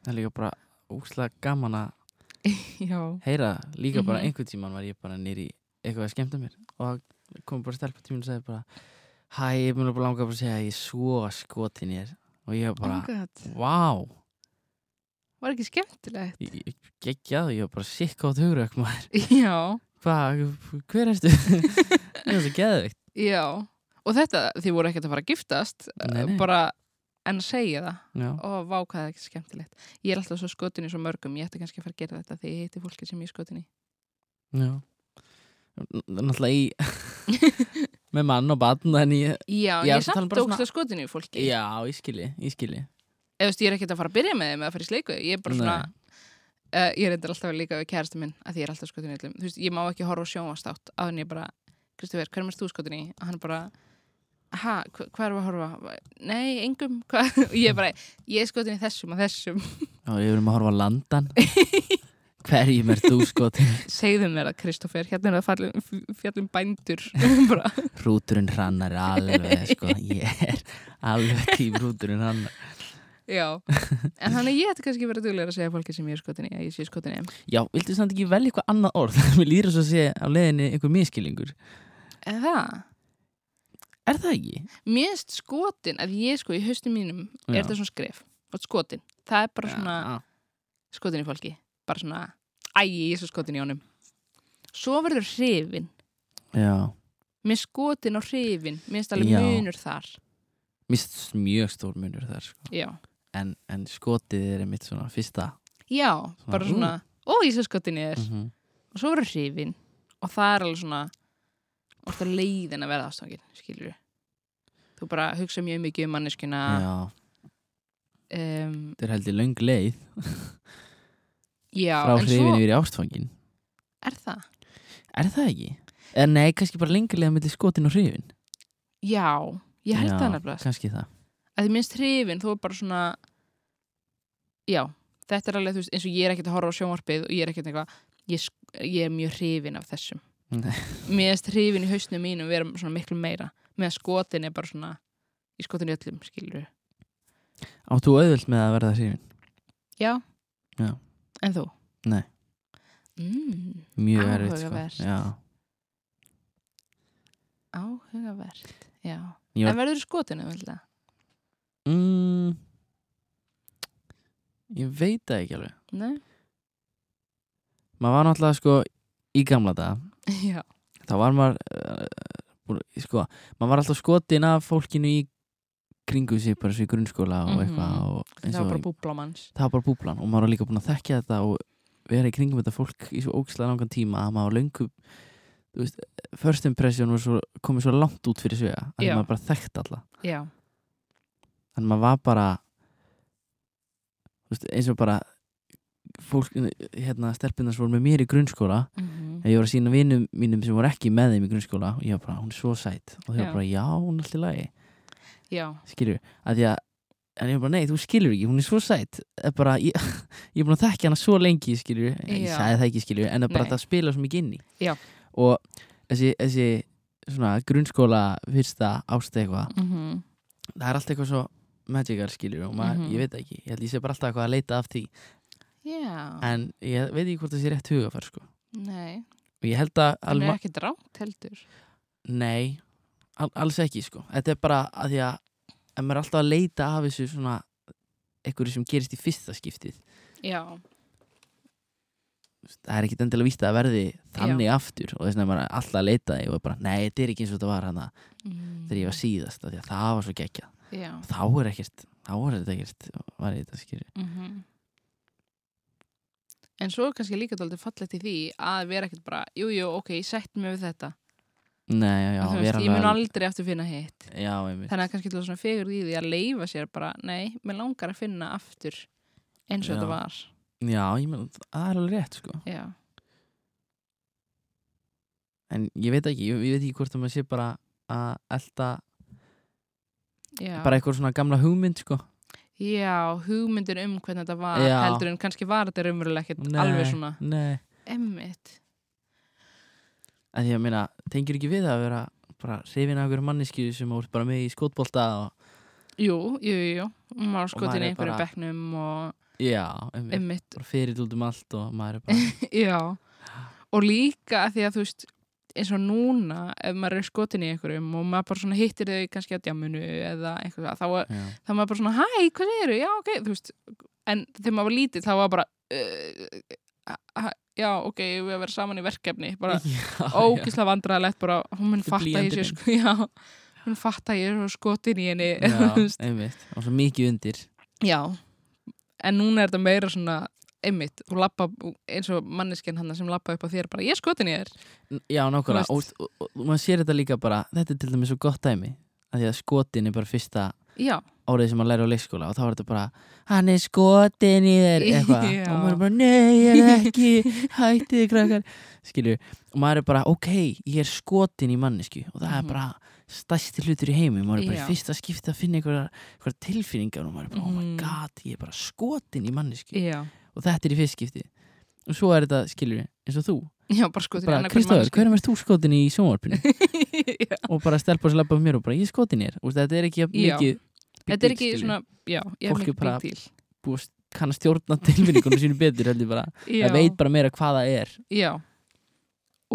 Speaker 1: það er líka bara úkslega gaman að
Speaker 2: Já,
Speaker 1: heyra það. líka bara
Speaker 2: Mhm.
Speaker 1: einhvern tíman var ég bara nýri eitthvað að skemmta mér og það kom bara stelpa til mín og sagði bara hæ, ég mun að bara langa bara að segja að ég er svo skotin í þér og ég var bara,
Speaker 2: Oh God.
Speaker 1: vá
Speaker 2: var ekki skemmtilegt
Speaker 1: ég ég- geggjað, ég var bara sikk á tugrök maður,
Speaker 2: Já,
Speaker 1: hvað, hver erstu ég var svo geðveikt
Speaker 2: já og þetta, þið voru ekkert að fara að giftast eh,
Speaker 1: Nei, nei.
Speaker 2: bara en að segja það
Speaker 1: já,
Speaker 2: og vá hvað það er ekki skemmtilegt ég er alltaf svo skotin í svo mörgum, ég ætti kannski að fara að gera þetta þegar ég heiti fólki sem ég er skotin í
Speaker 1: já N- náttúrulega í með mann og batn en ég,
Speaker 2: Já,
Speaker 1: Já,
Speaker 2: ég er
Speaker 1: svo talar
Speaker 2: samt
Speaker 1: bara svona-
Speaker 2: ógstlega skotin í fólki
Speaker 1: já, ég skilji ég skilji,
Speaker 2: eða þú veist, ég er ekkert að fara að byrja með þeim eða að fara í sleiku ég er bara svona,
Speaker 1: Nei.
Speaker 2: uh, ég reyndar alltaf líka við kærasta minn að því ég er alltaf skotin í öllum þú veist, ég má ekki horfa á sjónvastátt á henni ég bara, Kristoffer, hverjum erst þú skotin í? og hann bara, ha, hva- hvað erum við að horfa? á? nei, engum, hvað? og ég bara, ég er skotin í þessum og þessum
Speaker 1: og ég verðum að horfa á landan hverjum er þú skotin
Speaker 2: segðu mér það, Kristoffer, hérna er það fallum, fjallum um bændur bara,
Speaker 1: hrúturinn hrannar er alveg sko, ég er alveg tím hrúturinn hrannar
Speaker 2: já en þannig að ég ætti kannski verið duglega að segja fólki sem ég er skotin í að ég sé skotin í þeim.
Speaker 1: já, viltu samt ekki velja eitthvað annað orð mér líður svo að sé á leiðinni einhver miskilingur
Speaker 2: en það
Speaker 1: er það ekki?
Speaker 2: Mér finnst skotin, að ég sko í haustum mínum
Speaker 1: Já.
Speaker 2: er þetta svona skref og skotin, það er bara svona
Speaker 1: Já.
Speaker 2: skotin í fólki, bara svona æ, ég er svo skotin í honum svo verður hrifin,
Speaker 1: já,
Speaker 2: mér skotin og hrifin mér finnst alveg
Speaker 1: Já.
Speaker 2: munur þar
Speaker 1: mér finnst mjög stór munur þar sko.
Speaker 2: já,
Speaker 1: en, en skotið er mitt svona fyrsta
Speaker 2: já bara
Speaker 1: ú.
Speaker 2: svona, ó, ég er svo skotin í þér
Speaker 1: mm -hmm.
Speaker 2: og svo verður hrifin og það er alveg svona og það leiðin að verða ástangin, skilur við þú bara hugsa mjög mikið um manneskuna
Speaker 1: já,
Speaker 2: um,
Speaker 1: þetta er heldur löng leið
Speaker 2: já,
Speaker 1: frá
Speaker 2: en svo
Speaker 1: hrifinu yfir í ástfangin
Speaker 2: er það
Speaker 1: er það ekki? eða nei, kannski bara lengur leið mellir skotin og hrifin
Speaker 2: Já, ég held
Speaker 1: Já,
Speaker 2: það nefnilega sko.
Speaker 1: kannski það
Speaker 2: að því minnst hrifin, þú er bara svona já, þetta er alveg þú veist, eins og ég er ekkert að horfa á sjónvarpið og ég er ekkert eitthvað, ég, sk- ég er mjög hrifin af þessum
Speaker 1: Nei.
Speaker 2: mér erst hrifin í hausnum mínum vera svona miklu meira meðan skotin er bara svona í skotin í öllum, skilur við
Speaker 1: áttu auðvöld með að verða hrifin
Speaker 2: já.
Speaker 1: Já.
Speaker 2: en þú?
Speaker 1: Nei.
Speaker 2: mm,
Speaker 1: mjög erfitt
Speaker 2: Áhugavert.
Speaker 1: sko. Já.
Speaker 2: áhugavert, já
Speaker 1: Ég var-
Speaker 2: en verður skotin eða
Speaker 1: mm, ég veit það ekki alveg
Speaker 2: Nei?
Speaker 1: maður var náttúrulega sko í gamla daga
Speaker 2: Já.
Speaker 1: þá var maður uh, búin, sko, maður var alltaf skotin af fólkinu í kringum sig bara svo í grunnskóla og
Speaker 2: Mhm.
Speaker 1: eitthvað og eins
Speaker 2: það var
Speaker 1: og
Speaker 2: bara búbla manns
Speaker 1: það var bara búblan og maður var líka búin að þekkja þetta og vera í kringum þetta fólk í svo ógislega langan tíma að maður löngu þú veist, first impression var svo, komið svo langt út fyrir svega að
Speaker 2: Já.
Speaker 1: maður bara þekkt alla
Speaker 2: já,
Speaker 1: þannig maður var bara þú veist, eins og bara fólk, hérna, stelpunars voru með mér í grunnskóla
Speaker 2: mm
Speaker 1: Ef ég var að sína vinum mínum sem voru ekki með þeim í grunnskóla og ég var bara, hún er svo sætt og þau
Speaker 2: Já.
Speaker 1: var bara, já, hún er alltaf lagi
Speaker 2: já.
Speaker 1: skilur, að því að en ég var bara, nei, þú skilur ekki, hún er svo sætt Það er bara, ég, ég er búin að þekkja hana svo lengi skilur, ég
Speaker 2: Já.
Speaker 1: sagði það ekki skilur en það bara
Speaker 2: Nei.
Speaker 1: það spila svo mikið inn í
Speaker 2: Já.
Speaker 1: og þessi, þessi svona grunnskóla fyrsta ást eitthvað
Speaker 2: Mm
Speaker 1: það er alltaf eitthvað svo magical skilur og maður,
Speaker 2: Mhm.
Speaker 1: ég veit það ekki, ég held ég sé bara alltaf eitthvað að leita af því
Speaker 2: Já,
Speaker 1: en ég veit ekki hvort það sé rétt hugafær sko.
Speaker 2: nei,
Speaker 1: og ég held að
Speaker 2: það
Speaker 1: alma-
Speaker 2: er ekkert rámt heldur.
Speaker 1: Nei, al alls ekki sko Þetta er bara að því að ef maður er alltaf að leita af þessu svona einhverju sem gerist í fyrsta skiptið
Speaker 2: Já,
Speaker 1: það er ekkit endilega víst að það verði þannig aftur og þess vegna er maður alltaf að leita því og er bara, nei, þetta er ekki eins og þetta var hana
Speaker 2: mm.
Speaker 1: þegar ég var síðast, af því að það var svo gekkja
Speaker 2: Já,
Speaker 1: þá er ekkert, þá er þetta ekkert var þetta skýri
Speaker 2: mm en svo er kannski líka dálítið fallegt í því að vera ekkert bara, jú, jú, ok, ég sætt mig við þetta.
Speaker 1: Nei, já, já,
Speaker 2: Þú
Speaker 1: vera
Speaker 2: veist, ég mun
Speaker 1: alveg-
Speaker 2: aldrei aftur finna hitt.
Speaker 1: Já, einmitt
Speaker 2: Þannig að kannski til svona fegur í því að leifa sér bara, nei, mér langar að finna aftur eins og
Speaker 1: Já.
Speaker 2: þetta var.
Speaker 1: Já, ég mun, það er alveg rétt sko
Speaker 2: Já.
Speaker 1: en ég veit ekki, ég, ég veit ekki hvort að maður sé bara að elta
Speaker 2: já,
Speaker 1: bara eitthvað svona gamla hugmynd sko
Speaker 2: já hugmyndir um hvernig þetta var
Speaker 1: Já.
Speaker 2: heldur en kannski var þetta raunverulega ekkert
Speaker 1: Nei,
Speaker 2: alveg svona
Speaker 1: Nei,
Speaker 2: emmitt
Speaker 1: að því að meina, tengir ekki við það að vera bara hrifin af einhverjum manneski sem voru bara með í skotbolta og
Speaker 2: jú, jú, jú, jú, maður
Speaker 1: Og maður
Speaker 2: skotin
Speaker 1: er
Speaker 2: einhverju
Speaker 1: bara-
Speaker 2: bekknum og
Speaker 1: já, einmitt,
Speaker 2: emmitt
Speaker 1: bara fyrir út um allt og maður er bara,
Speaker 2: Já, og líka að því að þú veist, eins og núna ef maður er skotin í einhverjum og maður bara svona hittir þau kannski á djáminu eða eitthvað, þá, var-
Speaker 1: já,
Speaker 2: þá maður bara svona hæ, hvað eru, já, ok, þú veist en þegar maður var lítill, þá var bara uh, ha- já, ok við að vera saman í verkefni, bara
Speaker 1: já,
Speaker 2: ógislega vandræðalegt, bara hún mun
Speaker 1: Þetta er
Speaker 2: fatta að ég sé
Speaker 1: blýanturinn.
Speaker 2: sko, já, hún fatta að ég er svo skotin í henni,
Speaker 1: já,
Speaker 2: þú veist
Speaker 1: já, einmitt, og svo mikið undir
Speaker 2: Já, en núna er þetta meira svona einmitt, þú lappa eins og manneskinn hann sem lappa upp á þér bara, ég er skotin í þér
Speaker 1: N- Já, nákvæmlega,
Speaker 2: Þú veist.
Speaker 1: og, og, og, og maður sér þetta líka bara, þetta er til dæmis svo gott dæmi að því að skotin er bara fyrsta
Speaker 2: Já,
Speaker 1: árið sem maður læri á leikskóla og þá er þetta bara, hann er skotin í þér eitthvað,
Speaker 2: Já.
Speaker 1: og maður er bara, nei, ég er ekki hættið krakkar, skilju og maður er bara, ok, ég er skotin í mannesku og það er
Speaker 2: Mhm.
Speaker 1: bara stæsti hlutur í heimi, maður er bara
Speaker 2: Já.
Speaker 1: í fyrsta skipti að finna einhverjar einhverjar tilfinningar og maður er bara, oh my
Speaker 2: Mhm.
Speaker 1: god, ég er bara skotin í mannesku
Speaker 2: já,
Speaker 1: og þetta er í fyrst skipti og svo er þetta, skilju, eins og þú
Speaker 2: já, bara skotin í
Speaker 1: bara, Kristóður, hverjum er þú skotin í sjónvarpinu?
Speaker 2: hvernig
Speaker 1: og bara stelpa sem lappa um mér og bara ég er skotin í þér og þetta er ekki jafn
Speaker 2: Já.
Speaker 1: mikið
Speaker 2: Þetta er ekki svona, já, ég hef
Speaker 1: Fólk er
Speaker 2: mikið
Speaker 1: bara-
Speaker 2: big deal
Speaker 1: búist kann að stjórna tilfinningunum sínu betur heldur bara,
Speaker 2: Já,
Speaker 1: það veit bara meira hvað það er
Speaker 2: já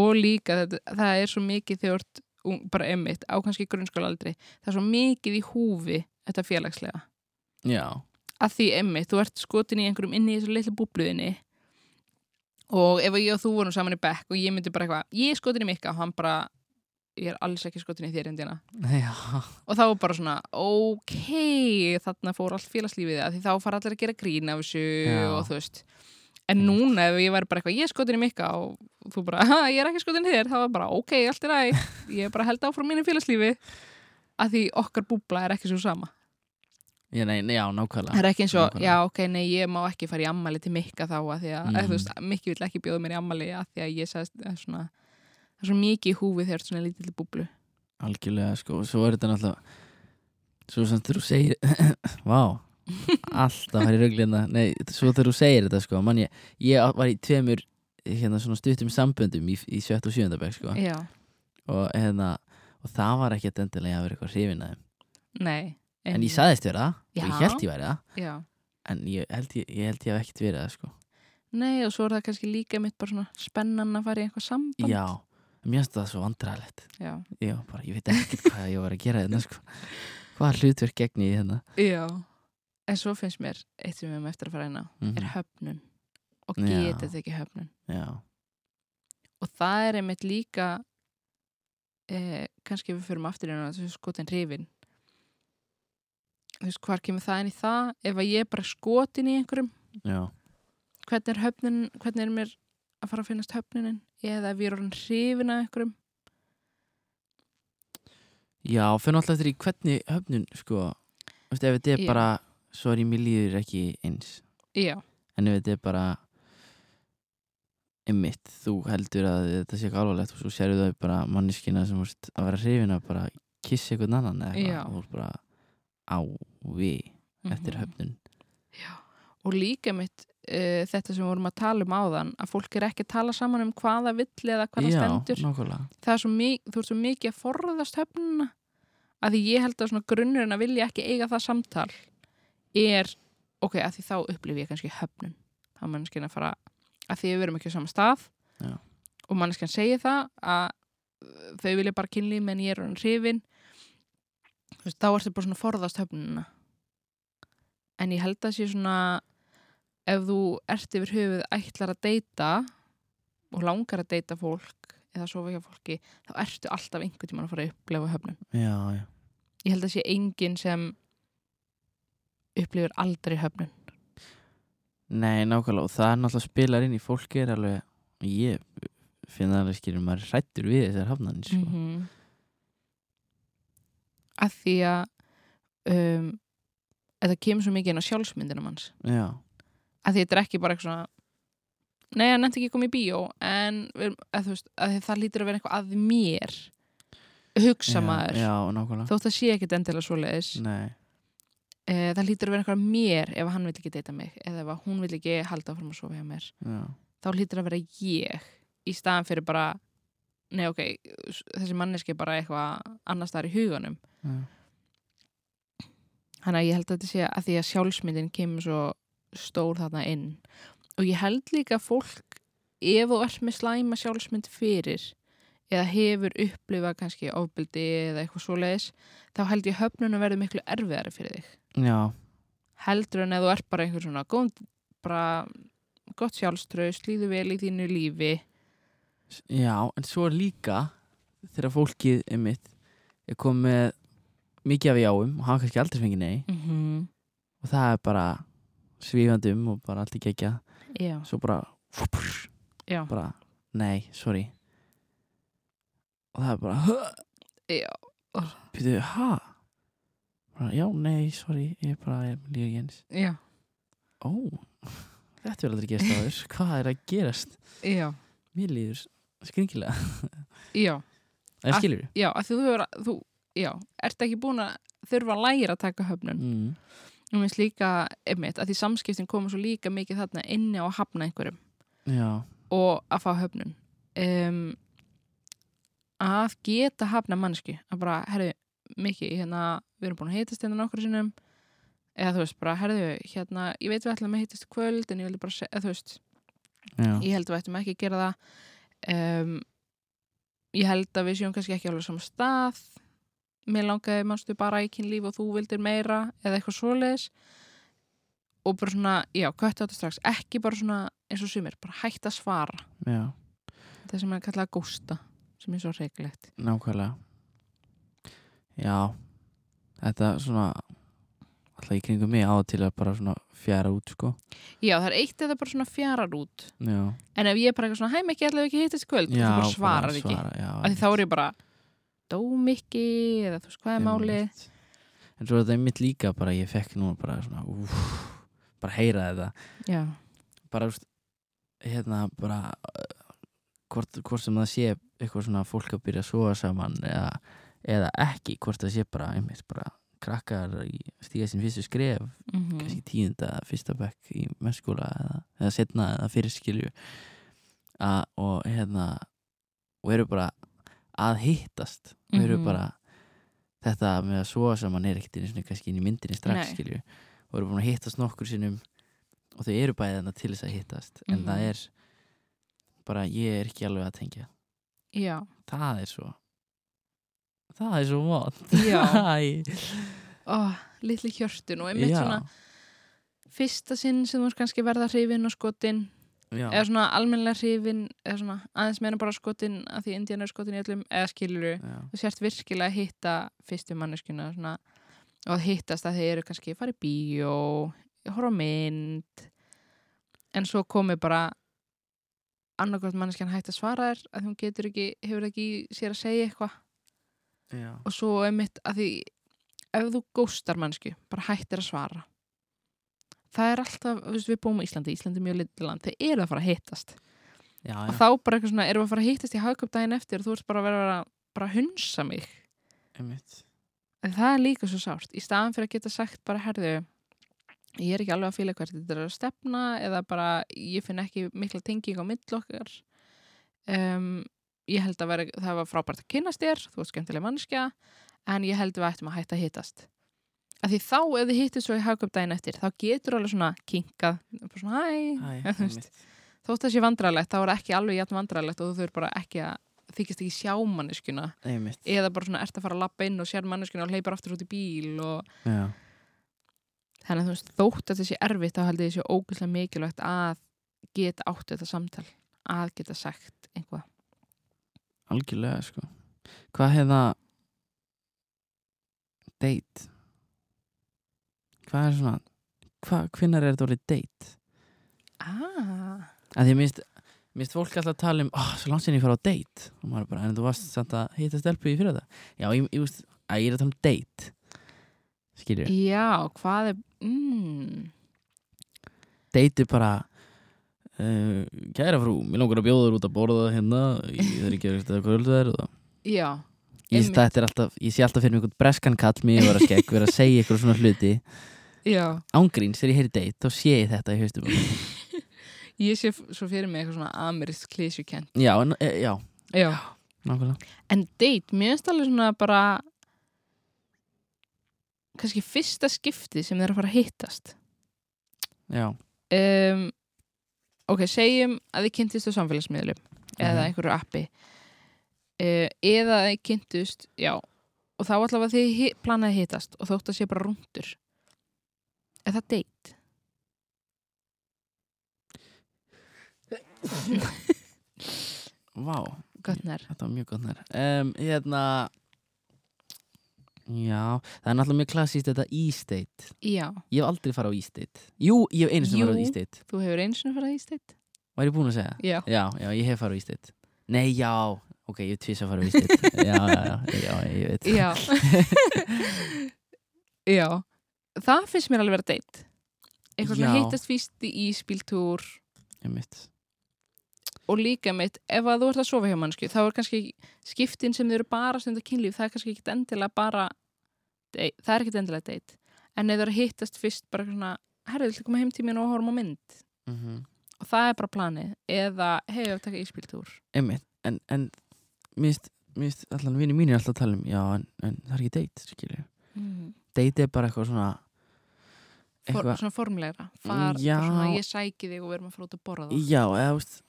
Speaker 2: Og líka, þetta, það er svo mikið þegar þú ert ung- bara einmitt, á kannski grunnskóla aldrei það er svo mikið í húfi þetta félagslega,
Speaker 1: já,
Speaker 2: að því einmitt, þú ert skotin í einhverjum inni í þessu litla búbluðinni og ef ég og þú vorum saman í bekk og ég myndi bara eitthvað, ég er skotin í mikka og hann bara, ég er alls ekki skotin í þér endina
Speaker 1: já,
Speaker 2: og þá var bara svona, ok þarna fór allt félagslífið að því þá fara allir að gera grín af þessu
Speaker 1: Já.
Speaker 2: og þú veist en núna ef ég væri bara eitthvað, ég er skotin í mikka og þú bara, ha, ég er ekki skotin í þér þá var bara, ok, allt er æg, ég er bara held áfram mínu félagslífi að því okkar búbla er ekki svo sama
Speaker 1: já, nei, nei, já
Speaker 2: það
Speaker 1: nákvæmlega
Speaker 2: er ekki eins og,
Speaker 1: Nákvæmlega.
Speaker 2: já, ok, nei, ég má ekki fara í ammali til mikka þá að því að,
Speaker 1: Mhm.
Speaker 2: mm. þú veist, mikki vill ekki bjóða mér í ammali að því að ég sagðist, það er svona það er svo mikið í húfi þegar þú ert svona lítill búblu
Speaker 1: algjörlega sko, og svo er þetta náttúrulega svo sem þegar þú segir vá, alltaf var í rauglina nei, svo þegar þú segir þetta sko man ég, ég var í tveimur hérna svona stuttum samböndum í, í sjött og sjöndabæk sko
Speaker 2: já,
Speaker 1: og hérna, og það var ekki endilega að vera eitthvað hrifin að þeim
Speaker 2: nei
Speaker 1: en ég saðist vera það og ég
Speaker 2: Já.
Speaker 1: held ég væri það
Speaker 2: já
Speaker 1: en ég held ég, ég, held ég hef ekkert verið það sko.
Speaker 2: Nei, og svo er það kannski líka mitt bara svona spennan að fara í eitthvað samband.
Speaker 1: já, mér finnst það svo vandræðalegt
Speaker 2: Já.
Speaker 1: ég, var bara, ég veit ekkert hvað ég var að gera hérna sko. hvað hlutverk gegni ég hérna
Speaker 2: Já. En svo finnst mér, eitt sem við höfum eftir að fara inn á,
Speaker 1: mm
Speaker 2: er höfnun. Og
Speaker 1: Já.
Speaker 2: geta þetta ekki höfnun.
Speaker 1: já,
Speaker 2: Og það er einmitt líka, eh, kannski við förum aftur inn á þessu skotin hrifin. Þú veist, hvar kemur það inn í það? Ef að ég er bara skotin í einhverjum,
Speaker 1: já,
Speaker 2: hvernig er höfnun, hvernig er mér að fara að finnast höfnunin? Eða ef ég er orðin hrifin að einhverjum?
Speaker 1: já fyrir náttúrulega eftir í hvernig höfnun sko, Vist, ef þetta er
Speaker 2: Já.
Speaker 1: bara sorry, mér líður ekki eins
Speaker 2: Já.
Speaker 1: en ef þetta er bara einmitt, þú heldur að þetta sé eitthvað alvarlegt og svo sérðu þau bara manneskina sem vorst að vera hrifin að bara kissa einhvern annan eða
Speaker 2: Já.
Speaker 1: eitthvað og þú ert bara á við eftir
Speaker 2: Mhm.
Speaker 1: höfnun
Speaker 2: og líka mitt uh, þetta sem við vorum að tala um áðan að fólk er ekki að tala saman um hvaða vill eða hvaða stendur
Speaker 1: Já, nákvæmlega
Speaker 2: það er svo mikið, þú ert svo mikið að forðast höfnuna að því ég held að svona grunnurinn að vilja ekki eiga það samtal er, ok, að því þá upplifi ég kannski höfnun þá er manneskinn að fara að því við verum ekki á sama stað
Speaker 1: Já.
Speaker 2: og manneskinn segir það að uh, þau vilja bara kynlíf menn ég er hann hrifin þú veist, þá ertu bara svona að forðast höfnuna en ég held að sé svona ef þú ert yfir höfuð ætlar að deyta og langar að deyta fólk eða sofa hjá fólki, þá ertu alltaf einhvern tímann að fara að upplefa höfnun
Speaker 1: Já, já,
Speaker 2: ég held að sé enginn sem upplifir aldrei höfnun
Speaker 1: nei, nákvæmlega og það er náttúrulega spilar inn í fólki er alveg, ég finn það alveg skilur maður er hrættur við þessar hafnanir sko.
Speaker 2: -hmm. að því að um, að það kemur svo mikið inn á sjálfsmyndina manns
Speaker 1: Já,
Speaker 2: að því þetta er ekki bara eitthvað svona nei, hann nefndi ekki að koma í bíó en við, að, þú veist, að það lítur að vera eitthvað að mér hugsa maður
Speaker 1: já, já, nákvæmlega
Speaker 2: þótt það sé ekkit endilega svoleiðis
Speaker 1: Nei,
Speaker 2: e, það lítur að vera eitthvað að mér ef hann vil ekki deyta mig eða ef að hún vil ekki halda áfram að sofa hjá mér
Speaker 1: já,
Speaker 2: þá lítur að vera ég í staðan fyrir bara nei ok, þessi manneski bara eitthvað annars þar í huganum
Speaker 1: já,
Speaker 2: þannig að ég held að þetta sé að því að sjálfsmyndin kemur svo stór þarna inn og ég held líka að fólk ef þú ert með slæma sjálfsmynd fyrir eða hefur upplifað kannski ofbildi eða eitthvað svoleiðis þá held ég höfnunum verður miklu erfiðari fyrir þig
Speaker 1: já,
Speaker 2: heldur en að þú ert bara einhver svona góð, bara gott sjálfströð slíðu vel í þínu lífi
Speaker 1: S- já en svo er líka þegar fólkið er mitt er komið mikið af jáum og hafa kannski aldrei fengið nei
Speaker 2: mm -hmm.
Speaker 1: og það er bara svífandi um og bara allt í gegja
Speaker 2: já,
Speaker 1: svo bara
Speaker 2: já,
Speaker 1: bara, nei, sorry og það er bara
Speaker 2: já.
Speaker 1: býtu, ha? Bara, já, nei, sorry, ég bara ég líka ekki eins
Speaker 2: já.
Speaker 1: ó, þetta er aldrei gerst áður hvað er að gerast?
Speaker 2: já.
Speaker 1: Mér líður skringilega
Speaker 2: já.
Speaker 1: eða
Speaker 2: Allt-
Speaker 1: skilur
Speaker 2: Já, að því þú hefur, þú, já, ert ekki búin að þurfa að læra að taka höfnun.
Speaker 1: mm.
Speaker 2: Nú minnst líka, einmitt, að því samskiptin koma svo líka mikið þarna inni á að hafna einhverjum
Speaker 1: já,
Speaker 2: og að fá höfnun. Um, að geta hafna mannsku, að bara, herðu, mikið, hérna, við erum búin að heitast hérna nokkru sinnum, eða þú veist, bara, herðu, hérna, ég veit við ætlum að heitast í kvöld, en ég vildi bara, se- eða þú veist,
Speaker 1: já,
Speaker 2: ég held að við ættum ekki að gera það um, ég held að við séum kannski ekki alveg saman stað mér langaði mannstu bara í kynlíf og þú vildir meira eða eitthvað svoleiðis og bara svona, já, köttu á þetta strax ekki bara svona eins og sumir, bara hægt að svara
Speaker 1: já,
Speaker 2: það sem er kallað að gósta sem er svo reglegt
Speaker 1: nákvæmlega já þetta svona alltaf í kringum mig á og til að bara svona fjara út sko
Speaker 2: já, það er eitt eða bara svona fjarar út
Speaker 1: já,
Speaker 2: en ef ég er bara eitthvað svona, hæ mikið, ætlum við ekki hittast í kvöld
Speaker 1: já
Speaker 2: þú bara svarar ekki,
Speaker 1: svara, já,
Speaker 2: af því þá er ég bara dó mikið, eða þú veist hvað er málið
Speaker 1: Einmitt. En svo er þetta einmitt líka bara, ég fekk núna bara svona, úf, bara heyra þetta.
Speaker 2: já,
Speaker 1: Bara, þú veist, hérna, bara, uh, hvort, hvort sem það sé eitthvað svona fólk að byrja að sofa saman eða, eða ekki, hvort það sé bara, einmitt, bara krakkar í stíga sín fyrstu skref,
Speaker 2: mm
Speaker 1: kannski tíunda, eða fyrsta bekk í mennskóla eða, eða setna eða fyrir skilju að, og hérna og eru bara að hittast og eru
Speaker 2: Mhm.
Speaker 1: bara þetta með að svo sem hann er ekkert einu sinni kannski inn í myndinni strax
Speaker 2: Nei.
Speaker 1: skilju og eru búin að hittast nokkur sinnum og þau eru bæðið þarna til þess að hittast en
Speaker 2: Mhm.
Speaker 1: það er bara ég er ekki alveg að tengja
Speaker 2: já
Speaker 1: það er svo það er svo vant
Speaker 2: Já,
Speaker 1: Æ.
Speaker 2: ó, litli hjörtun og einmitt svona fyrsta sinn sem þú ert kannski verða hrifin og skotin
Speaker 1: já,
Speaker 2: eða svona almennilega hrifin eða svona aðeins meina bara skotin að því Indiana er skotin í öllum eða skiluru
Speaker 1: já,
Speaker 2: þú sért virkilega að hitta fyrstu manneskuna svona, og að hittast að þeir eru kannski að fara í bíó horfa á mynd en svo komi bara annarkvæmt manneskjan hægt að svara þér að hún getur ekki, hefur ekki í sér að segja eitthvað
Speaker 1: já.
Speaker 2: og svo einmitt að því ef þú góstar mannsku, bara hættir að svara það er alltaf þú veist, við búum á Íslandi, Íslandi er mjög litið land þeir eru að fara að hittast
Speaker 1: já,
Speaker 2: og
Speaker 1: já.
Speaker 2: þá bara eitthvað svona, erum við að fara að hittast í hagkjöp daginn eftir og þú ert bara að vera vera- bara að hunsa mig
Speaker 1: einmitt
Speaker 2: en það er líka svo sárt, í staðan fyrir að geta sagt bara herðu, ég er ekki alveg að fíla hvert þetta er að stefna eða bara ég finn ekki mikla tenging á mill okkar um, ég held að vera, það var frábært að kynast þér þú ert skemmtileg mannskja en ég held við ættum að hætta að hittast að því þá ef þið hittist svo í hagkjöp daginn eftir þá getur alveg svona kinkað bara svona hæ,
Speaker 1: Æ,
Speaker 2: Eða þú veist, þótt það sé vandrarlegt þá er ekki alveg jætt vandrarlegt og þú þurfur bara ekki að þykist ekki sjá manneskjuna
Speaker 1: einmitt
Speaker 2: eða bara svona ert að fara að lappa inn og sér manneskinu og hleypar aftur út í bíl og
Speaker 1: já,
Speaker 2: þannig að þú veist þótt að þessi erfitt þá held ég þessi ógæslega mikilvægt að geta átt þetta samtal að geta sagt einhvað
Speaker 1: algjörlega sko hvað hefða date hvað er svona hvað, hvenær er þetta orðið date
Speaker 2: ah,
Speaker 1: að því að minnst, minnst fólk alltaf tala um oh, svo langt sinni ég fara á date og maður er bara, en þú varst samt að hitta stelpu í fyrir það já, ég, ég, veist, að ég er að tala um date skilur,
Speaker 2: já, hvað er mm,
Speaker 1: date er bara Uh, kæra frú, mér langar að bjóða þér út að borða hérna, ég er ekki að veist að kvöldu þær og
Speaker 2: já,
Speaker 1: ég,
Speaker 2: Einmitt.
Speaker 1: þetta er alltaf, ég sé alltaf fyrir mig einhvern breskan kall mér var að skegg, vera að segja ykkur svona hluti
Speaker 2: já
Speaker 1: ángríns þegar ég heyri date, þá sé ég þetta í haustum á mér.
Speaker 2: ég sé f- svo fyrir mig eitthvað svona amirist klísjukent
Speaker 1: já, en, e, já,
Speaker 2: já,
Speaker 1: nákvæmlega
Speaker 2: en date, mér finnst alveg svona bara kannski fyrsta skipti sem þeir eru að fara að hittast
Speaker 1: já,
Speaker 2: um, ok, segjum að þið kynntist á samfélagsmiðlum
Speaker 1: Mhm.
Speaker 2: eða einhverju appi uh, eða að þið kynntust já, og þá allavega þið hi- planaði að hittast og þótt að sé bara rúndur er það date?
Speaker 1: vá,
Speaker 2: gott nær
Speaker 1: þetta var mjög gott nær um, hérna já, það er náttúrulega mjög klassíst þetta e-state,
Speaker 2: já,
Speaker 1: ég hef aldrei farið á e-state jú, ég hef einu sem
Speaker 2: Jú.
Speaker 1: farið á e-state
Speaker 2: þú hefur eins og farað í steitt
Speaker 1: var ég búin að segja?
Speaker 2: já,
Speaker 1: Já, já, ég hef farið á Ístit Nei, já, ok, ég hef tvís að fara á Ístit já, já, já, já, ég veit
Speaker 2: já já það finnst mér alveg vera date eitthvað svona
Speaker 1: Já.
Speaker 2: hittast fyrst í spiltúr
Speaker 1: Ég mitt
Speaker 2: og líka mitt, ef að þú ert að sofa hjá mannsku þá er kannski skiptin sem þau eru bara að stunda kynlíf, það er kannski ekkit endilega bara dei- það er ekkit endilega date en ef þau eru að hittast fyrst bara eitthvað svona, herrðu, viltu koma heim til mín og horfum á mynd
Speaker 1: mm -hmm.
Speaker 2: og það er bara planið, eða hei, ég vil taka íspiltúr
Speaker 1: Ég mitt, en, en Mist, mist, allan vini mínir alltaf að tala um Já, en, en það er ekki date, skilju
Speaker 2: mm.
Speaker 1: Date er bara eitthvað svona
Speaker 2: For,
Speaker 1: Eitthvað,
Speaker 2: svona formleira, far,
Speaker 1: Já.
Speaker 2: svona, ég sæki þig og við erum að fara út að borða það
Speaker 1: já, eða, þú veist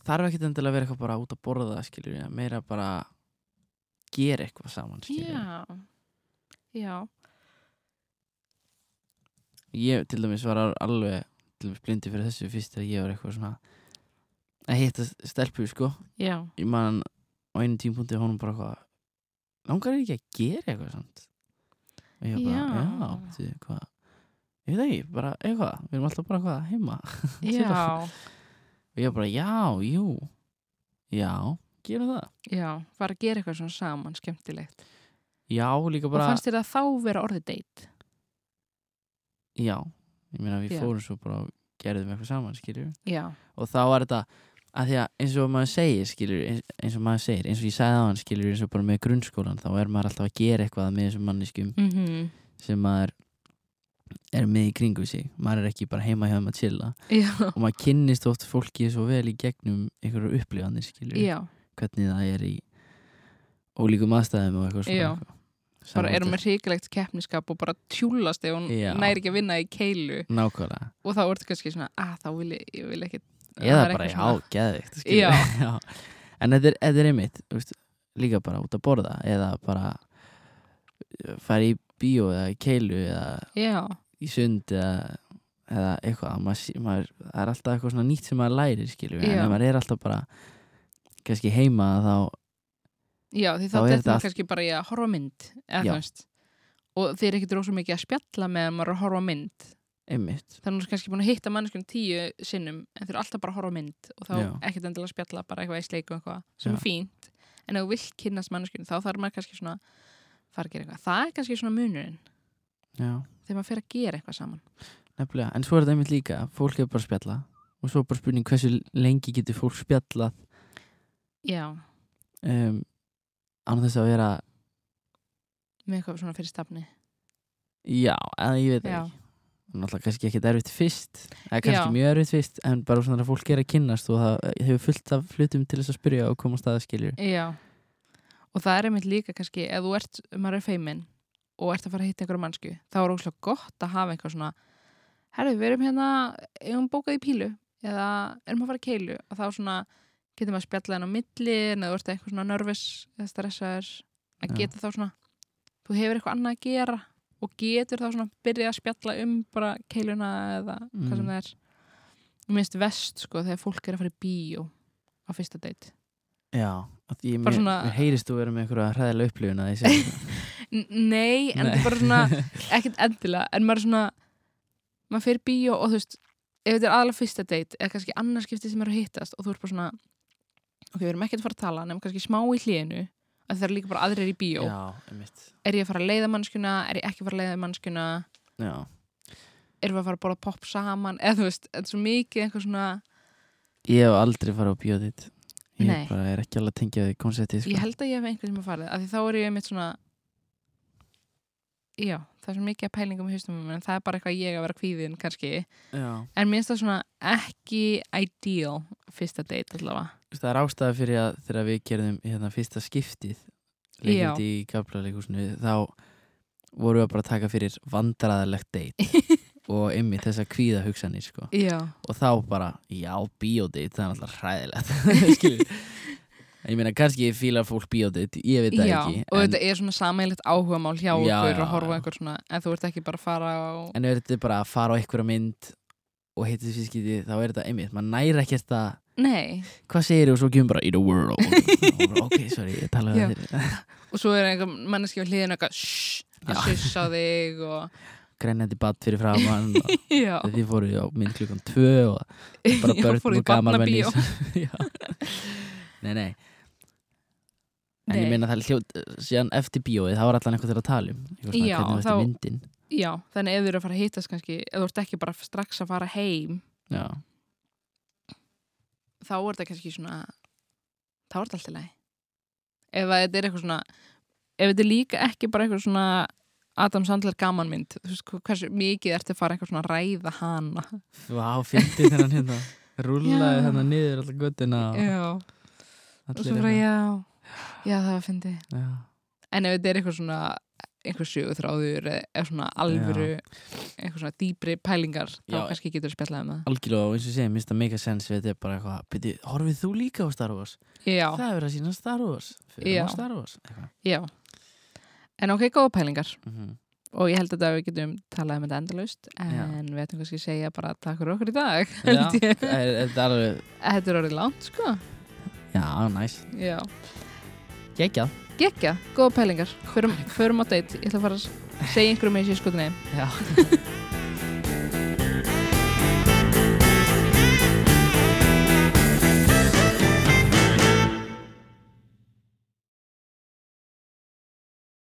Speaker 1: Þarf ekki endilega að vera eitthvað bara út að borða, skilju eða Meira bara gera eitthvað saman, skilju
Speaker 2: já, já,
Speaker 1: Ég til dæmis var al- alveg til dæmis blindi fyrir þessu fyrst að ég var eitthvað svona að hitta stelpu, sko
Speaker 2: já
Speaker 1: ég man á einu tímpunkti honum bara eitthvað langar þig ekki að gera eitthvað samt og ég bara,
Speaker 2: Já.
Speaker 1: já, já því, hvað ég veit ekki, bara eitthvað við erum alltaf bara eitthvað heima Chilla.
Speaker 2: já,
Speaker 1: og ég bara, já, jú já, gerum það
Speaker 2: já, var að gera eitthvað svona saman skemmtilegt,
Speaker 1: já, líka
Speaker 2: og
Speaker 1: bara,
Speaker 2: fannst þér að þá vera orðið date
Speaker 1: já ég meina við
Speaker 2: Já.
Speaker 1: fórum svo bara og gerðum eitthvað saman, skiljum
Speaker 2: já,
Speaker 1: og þá var þetta að því að eins og maður segir skilur, eins, eins og maður segir, eins og ég sagði á hann skilur eins og bara með grunnskólan, þá er maður alltaf að gera eitthvað með þessum manniskum
Speaker 2: mhm
Speaker 1: sem maður er með í kringu sig maður er ekki bara heima hjá þeim að chilla
Speaker 2: Já,
Speaker 1: og maður kynnist oft fólki svo vel í gegnum einhverju upplifanir skilur
Speaker 2: já,
Speaker 1: hvernig það er í ólíkum aðstæðum og eitthvað svona
Speaker 2: Já.
Speaker 1: eitthvað.
Speaker 2: bara
Speaker 1: Samvist-
Speaker 2: erum með hrikalegt keppniskap og bara tjúlast ef hún
Speaker 1: Já.
Speaker 2: næri ekki að vinna í keilu
Speaker 1: nákvæmlega,
Speaker 2: og þá ertu kannski svona, að þá vil ég, ég vil ekki
Speaker 1: eða
Speaker 2: það er
Speaker 1: bara
Speaker 2: eitthvað
Speaker 1: já,
Speaker 2: svona-
Speaker 1: geðvikt
Speaker 2: Já.
Speaker 1: já. en þetta er, þetta er einmitt þú veist, líka bara út að borða eða bara fara í bíó eða í keilu eða
Speaker 2: Já,
Speaker 1: í sund eða, eða eitthvað maður, sé- maður, það er alltaf eitthvað svona nýtt sem maður lærir skilur við, en
Speaker 2: Já.
Speaker 1: ef maður er alltaf bara kannski heima þá
Speaker 2: já, því
Speaker 1: Þá
Speaker 2: þá
Speaker 1: er
Speaker 2: þetta
Speaker 1: þetta allt-
Speaker 2: kannski bara í að horfa á mynd eða
Speaker 1: Já.
Speaker 2: þú veist og þeir eru ekkit rosa mikið að spjalla með að maður er að horfa á mynd
Speaker 1: einmitt
Speaker 2: þannig er kannski búin að hitta manneskjum tíu sinnum en þeir eru alltaf bara að horfa á mynd og þá
Speaker 1: Já.
Speaker 2: ekkit endilega að spjalla bara eitthvað í sleik og eitthvað sem
Speaker 1: Já.
Speaker 2: er fínt en ef þú vill kynnast manneskjum þá þarf maður kannski svona að fara að gera eitthvað það er kannski svona munurinn
Speaker 1: já,
Speaker 2: þegar maður fer að gera eitthvað saman
Speaker 1: nefnilega, en svo er þetta einmitt líka fólk er bara að spjalla og svo er bara spurning hversu lengi getur fólk spjallað
Speaker 2: Já,
Speaker 1: um, án þess að vera
Speaker 2: með eitthvað svona fyrir stafni
Speaker 1: já, eða ég veit það
Speaker 2: Já.
Speaker 1: ekki náttúrulega kannski ekki erfitt fyrst eða kannski
Speaker 2: Já.
Speaker 1: mjög erfitt fyrst en bara svona að fólk er að kynnast og það hefur fullt af hlutum til þess að spyrja og koma á staða skilur
Speaker 2: Já, og það er einmitt líka kannski, ef þú ert, ef maður er feiminn og ert að fara að hitta einhverju mannsku, þá er óslega gott að hafa eitthvað svona herru, við erum hérna, erum bókað í pílu eða erum að fara í keilu og þá svona getur maður að spjalla henn á milli en ef þú ert eitthvað svona nervus eða stressaður, að
Speaker 1: Já.
Speaker 2: geta þá svona þú hefur eitthvað annað að gera og getur þá svona byrjað að spjalla um bara keiluna eða
Speaker 1: Mm.
Speaker 2: hvað sem það er minnst vest sko þegar fólk er að fara í bíó á fyrsta date
Speaker 1: Já, að ég mér,
Speaker 2: Bara svona-
Speaker 1: mér heyrist þú vera með einhverja hræðilega upplifun að ég segi það.
Speaker 2: N- Nei, en þetta er bara svona ekkert endilega, en maður er svona maður fyrir bíó og þú veist ef þetta er aðalega fyrsta date, eða kannski annarskipti sem eru að hittast og þú er bara svona ok, við erum ekkert að fara að tala, nefnum kannski smá í hlénu að það eru líka bara aðrir í bíó
Speaker 1: Já, einmitt
Speaker 2: er ég að fara að leiða mannskuna, er ég ekki að fara að leiða mannskuna
Speaker 1: Já,
Speaker 2: erum við að fara að bóla popp saman eða þú veist, þetta er svo mikið eitthvað svona
Speaker 1: Ég hef aldrei farið á bíóðið Ég
Speaker 2: Nei.
Speaker 1: bara er ekki alveg að tengja því konseptið sko.
Speaker 2: Ég held að ég hef einhvern sem að farið af því þá er ég mitt svona Já, það er svo mikið að pælingum í haustum á mér, en það er bara eitthvað ég að vera kvíðin kannski,
Speaker 1: Já.
Speaker 2: en mér finnst það svona ekki ideal fyrsta date allavega
Speaker 1: Þú veist, Það er ástæða fyrir að þegar við gerðum hérna, fyrsta skiptið leikindi í kaplaleikusinu þá vorum við bara að taka fyrir vandræðalegt date og ymmið þess að kvíða hugsanir sko.
Speaker 2: Já,
Speaker 1: og þá bara, já, bíódeit það er alltaf hræðilegt Skilur. ég meina, kannski ég fílar fólk bíódeit ég veit það
Speaker 2: já
Speaker 1: ekki
Speaker 2: og
Speaker 1: en,
Speaker 2: þetta er svona sameiglegt áhugamál hjá
Speaker 1: Já,
Speaker 2: okkur
Speaker 1: já,
Speaker 2: og horfa
Speaker 1: já.
Speaker 2: á einhver svona, en þú ert ekki bara að fara á
Speaker 1: en ef þetta er bara að fara á einhverja mynd og hitta þessi skiti, þá er þetta einmitt maður næri ekkert að,
Speaker 2: Nei,
Speaker 1: hvað segir þú og svo kemur bara, in a world Og bara, ok, sorry, ég talaði
Speaker 2: Já.
Speaker 1: að þeir
Speaker 2: og svo er einhver manneski á hliðinu eitthvað shhh, að
Speaker 1: Já.
Speaker 2: sissa á þig og
Speaker 1: grænandi batt fyrir framann og
Speaker 2: Já,
Speaker 1: því fóru á mynd klukkan tvö og bara
Speaker 2: Já, fóruð
Speaker 1: börn
Speaker 2: í
Speaker 1: og gaman menni
Speaker 2: barnabíó.
Speaker 1: nei, nei En ég
Speaker 2: Nei.
Speaker 1: meina það er hljóð, síðan eftir bíóið, þá var allan eitthvað til að tala um. Eitthvað svona,
Speaker 2: Já,
Speaker 1: hvernig
Speaker 2: þá-
Speaker 1: veist myndin.
Speaker 2: Já, þannig ef þú eru að fara að hittast kannski ef þú ert ekki bara strax að fara heim
Speaker 1: Já,
Speaker 2: þá er þetta kannski svona þá er þetta alltaf leið ef að þetta er eitthvað svona ef þetta er líka ekki bara eitthvað svona Adam Sandler gamanmynd þú veist hva- hversu mikið ertu að fara eitthvað svona að ræða hana
Speaker 1: vá, fyndi þennan hérna. Rúlaði
Speaker 2: Já.
Speaker 1: þennan niður alltaf göttina. og
Speaker 2: og
Speaker 1: allir
Speaker 2: svo frá
Speaker 1: hérna.
Speaker 2: já já það var fyndi
Speaker 1: Já.
Speaker 2: en ef þetta er eitthvað svona einhver sjögutráður eða eða svona alvöru eitthvað svona dýpri pælingar þá
Speaker 1: Já.
Speaker 2: kannski getur spjallað um
Speaker 1: Algjörlega, og eins og ég segi, minnst að make a sense við þetta er bara eitthvað, byrju, horfið þú líka á Star Wars?
Speaker 2: það já,
Speaker 1: Það er verið að sína Star Wars. Fyrir
Speaker 2: Já.
Speaker 1: á Star Wars. Eitthvað.
Speaker 2: já en ok, góða pælingar
Speaker 1: Mm
Speaker 2: og ég held að við getum talað um þetta endalaust en
Speaker 1: Já.
Speaker 2: við ætlum kannski að segja bara takk fyrir okkur í dag
Speaker 1: Já,
Speaker 2: held ég.
Speaker 1: það er, þetta er alveg,
Speaker 2: þetta er orðið langt sko
Speaker 1: já, næs.
Speaker 2: já.
Speaker 1: Gekkjað.
Speaker 2: gekja, góða pælingar förum, förum á date, ég ætla að fara að segja einhverjum með í skotinni
Speaker 1: Já.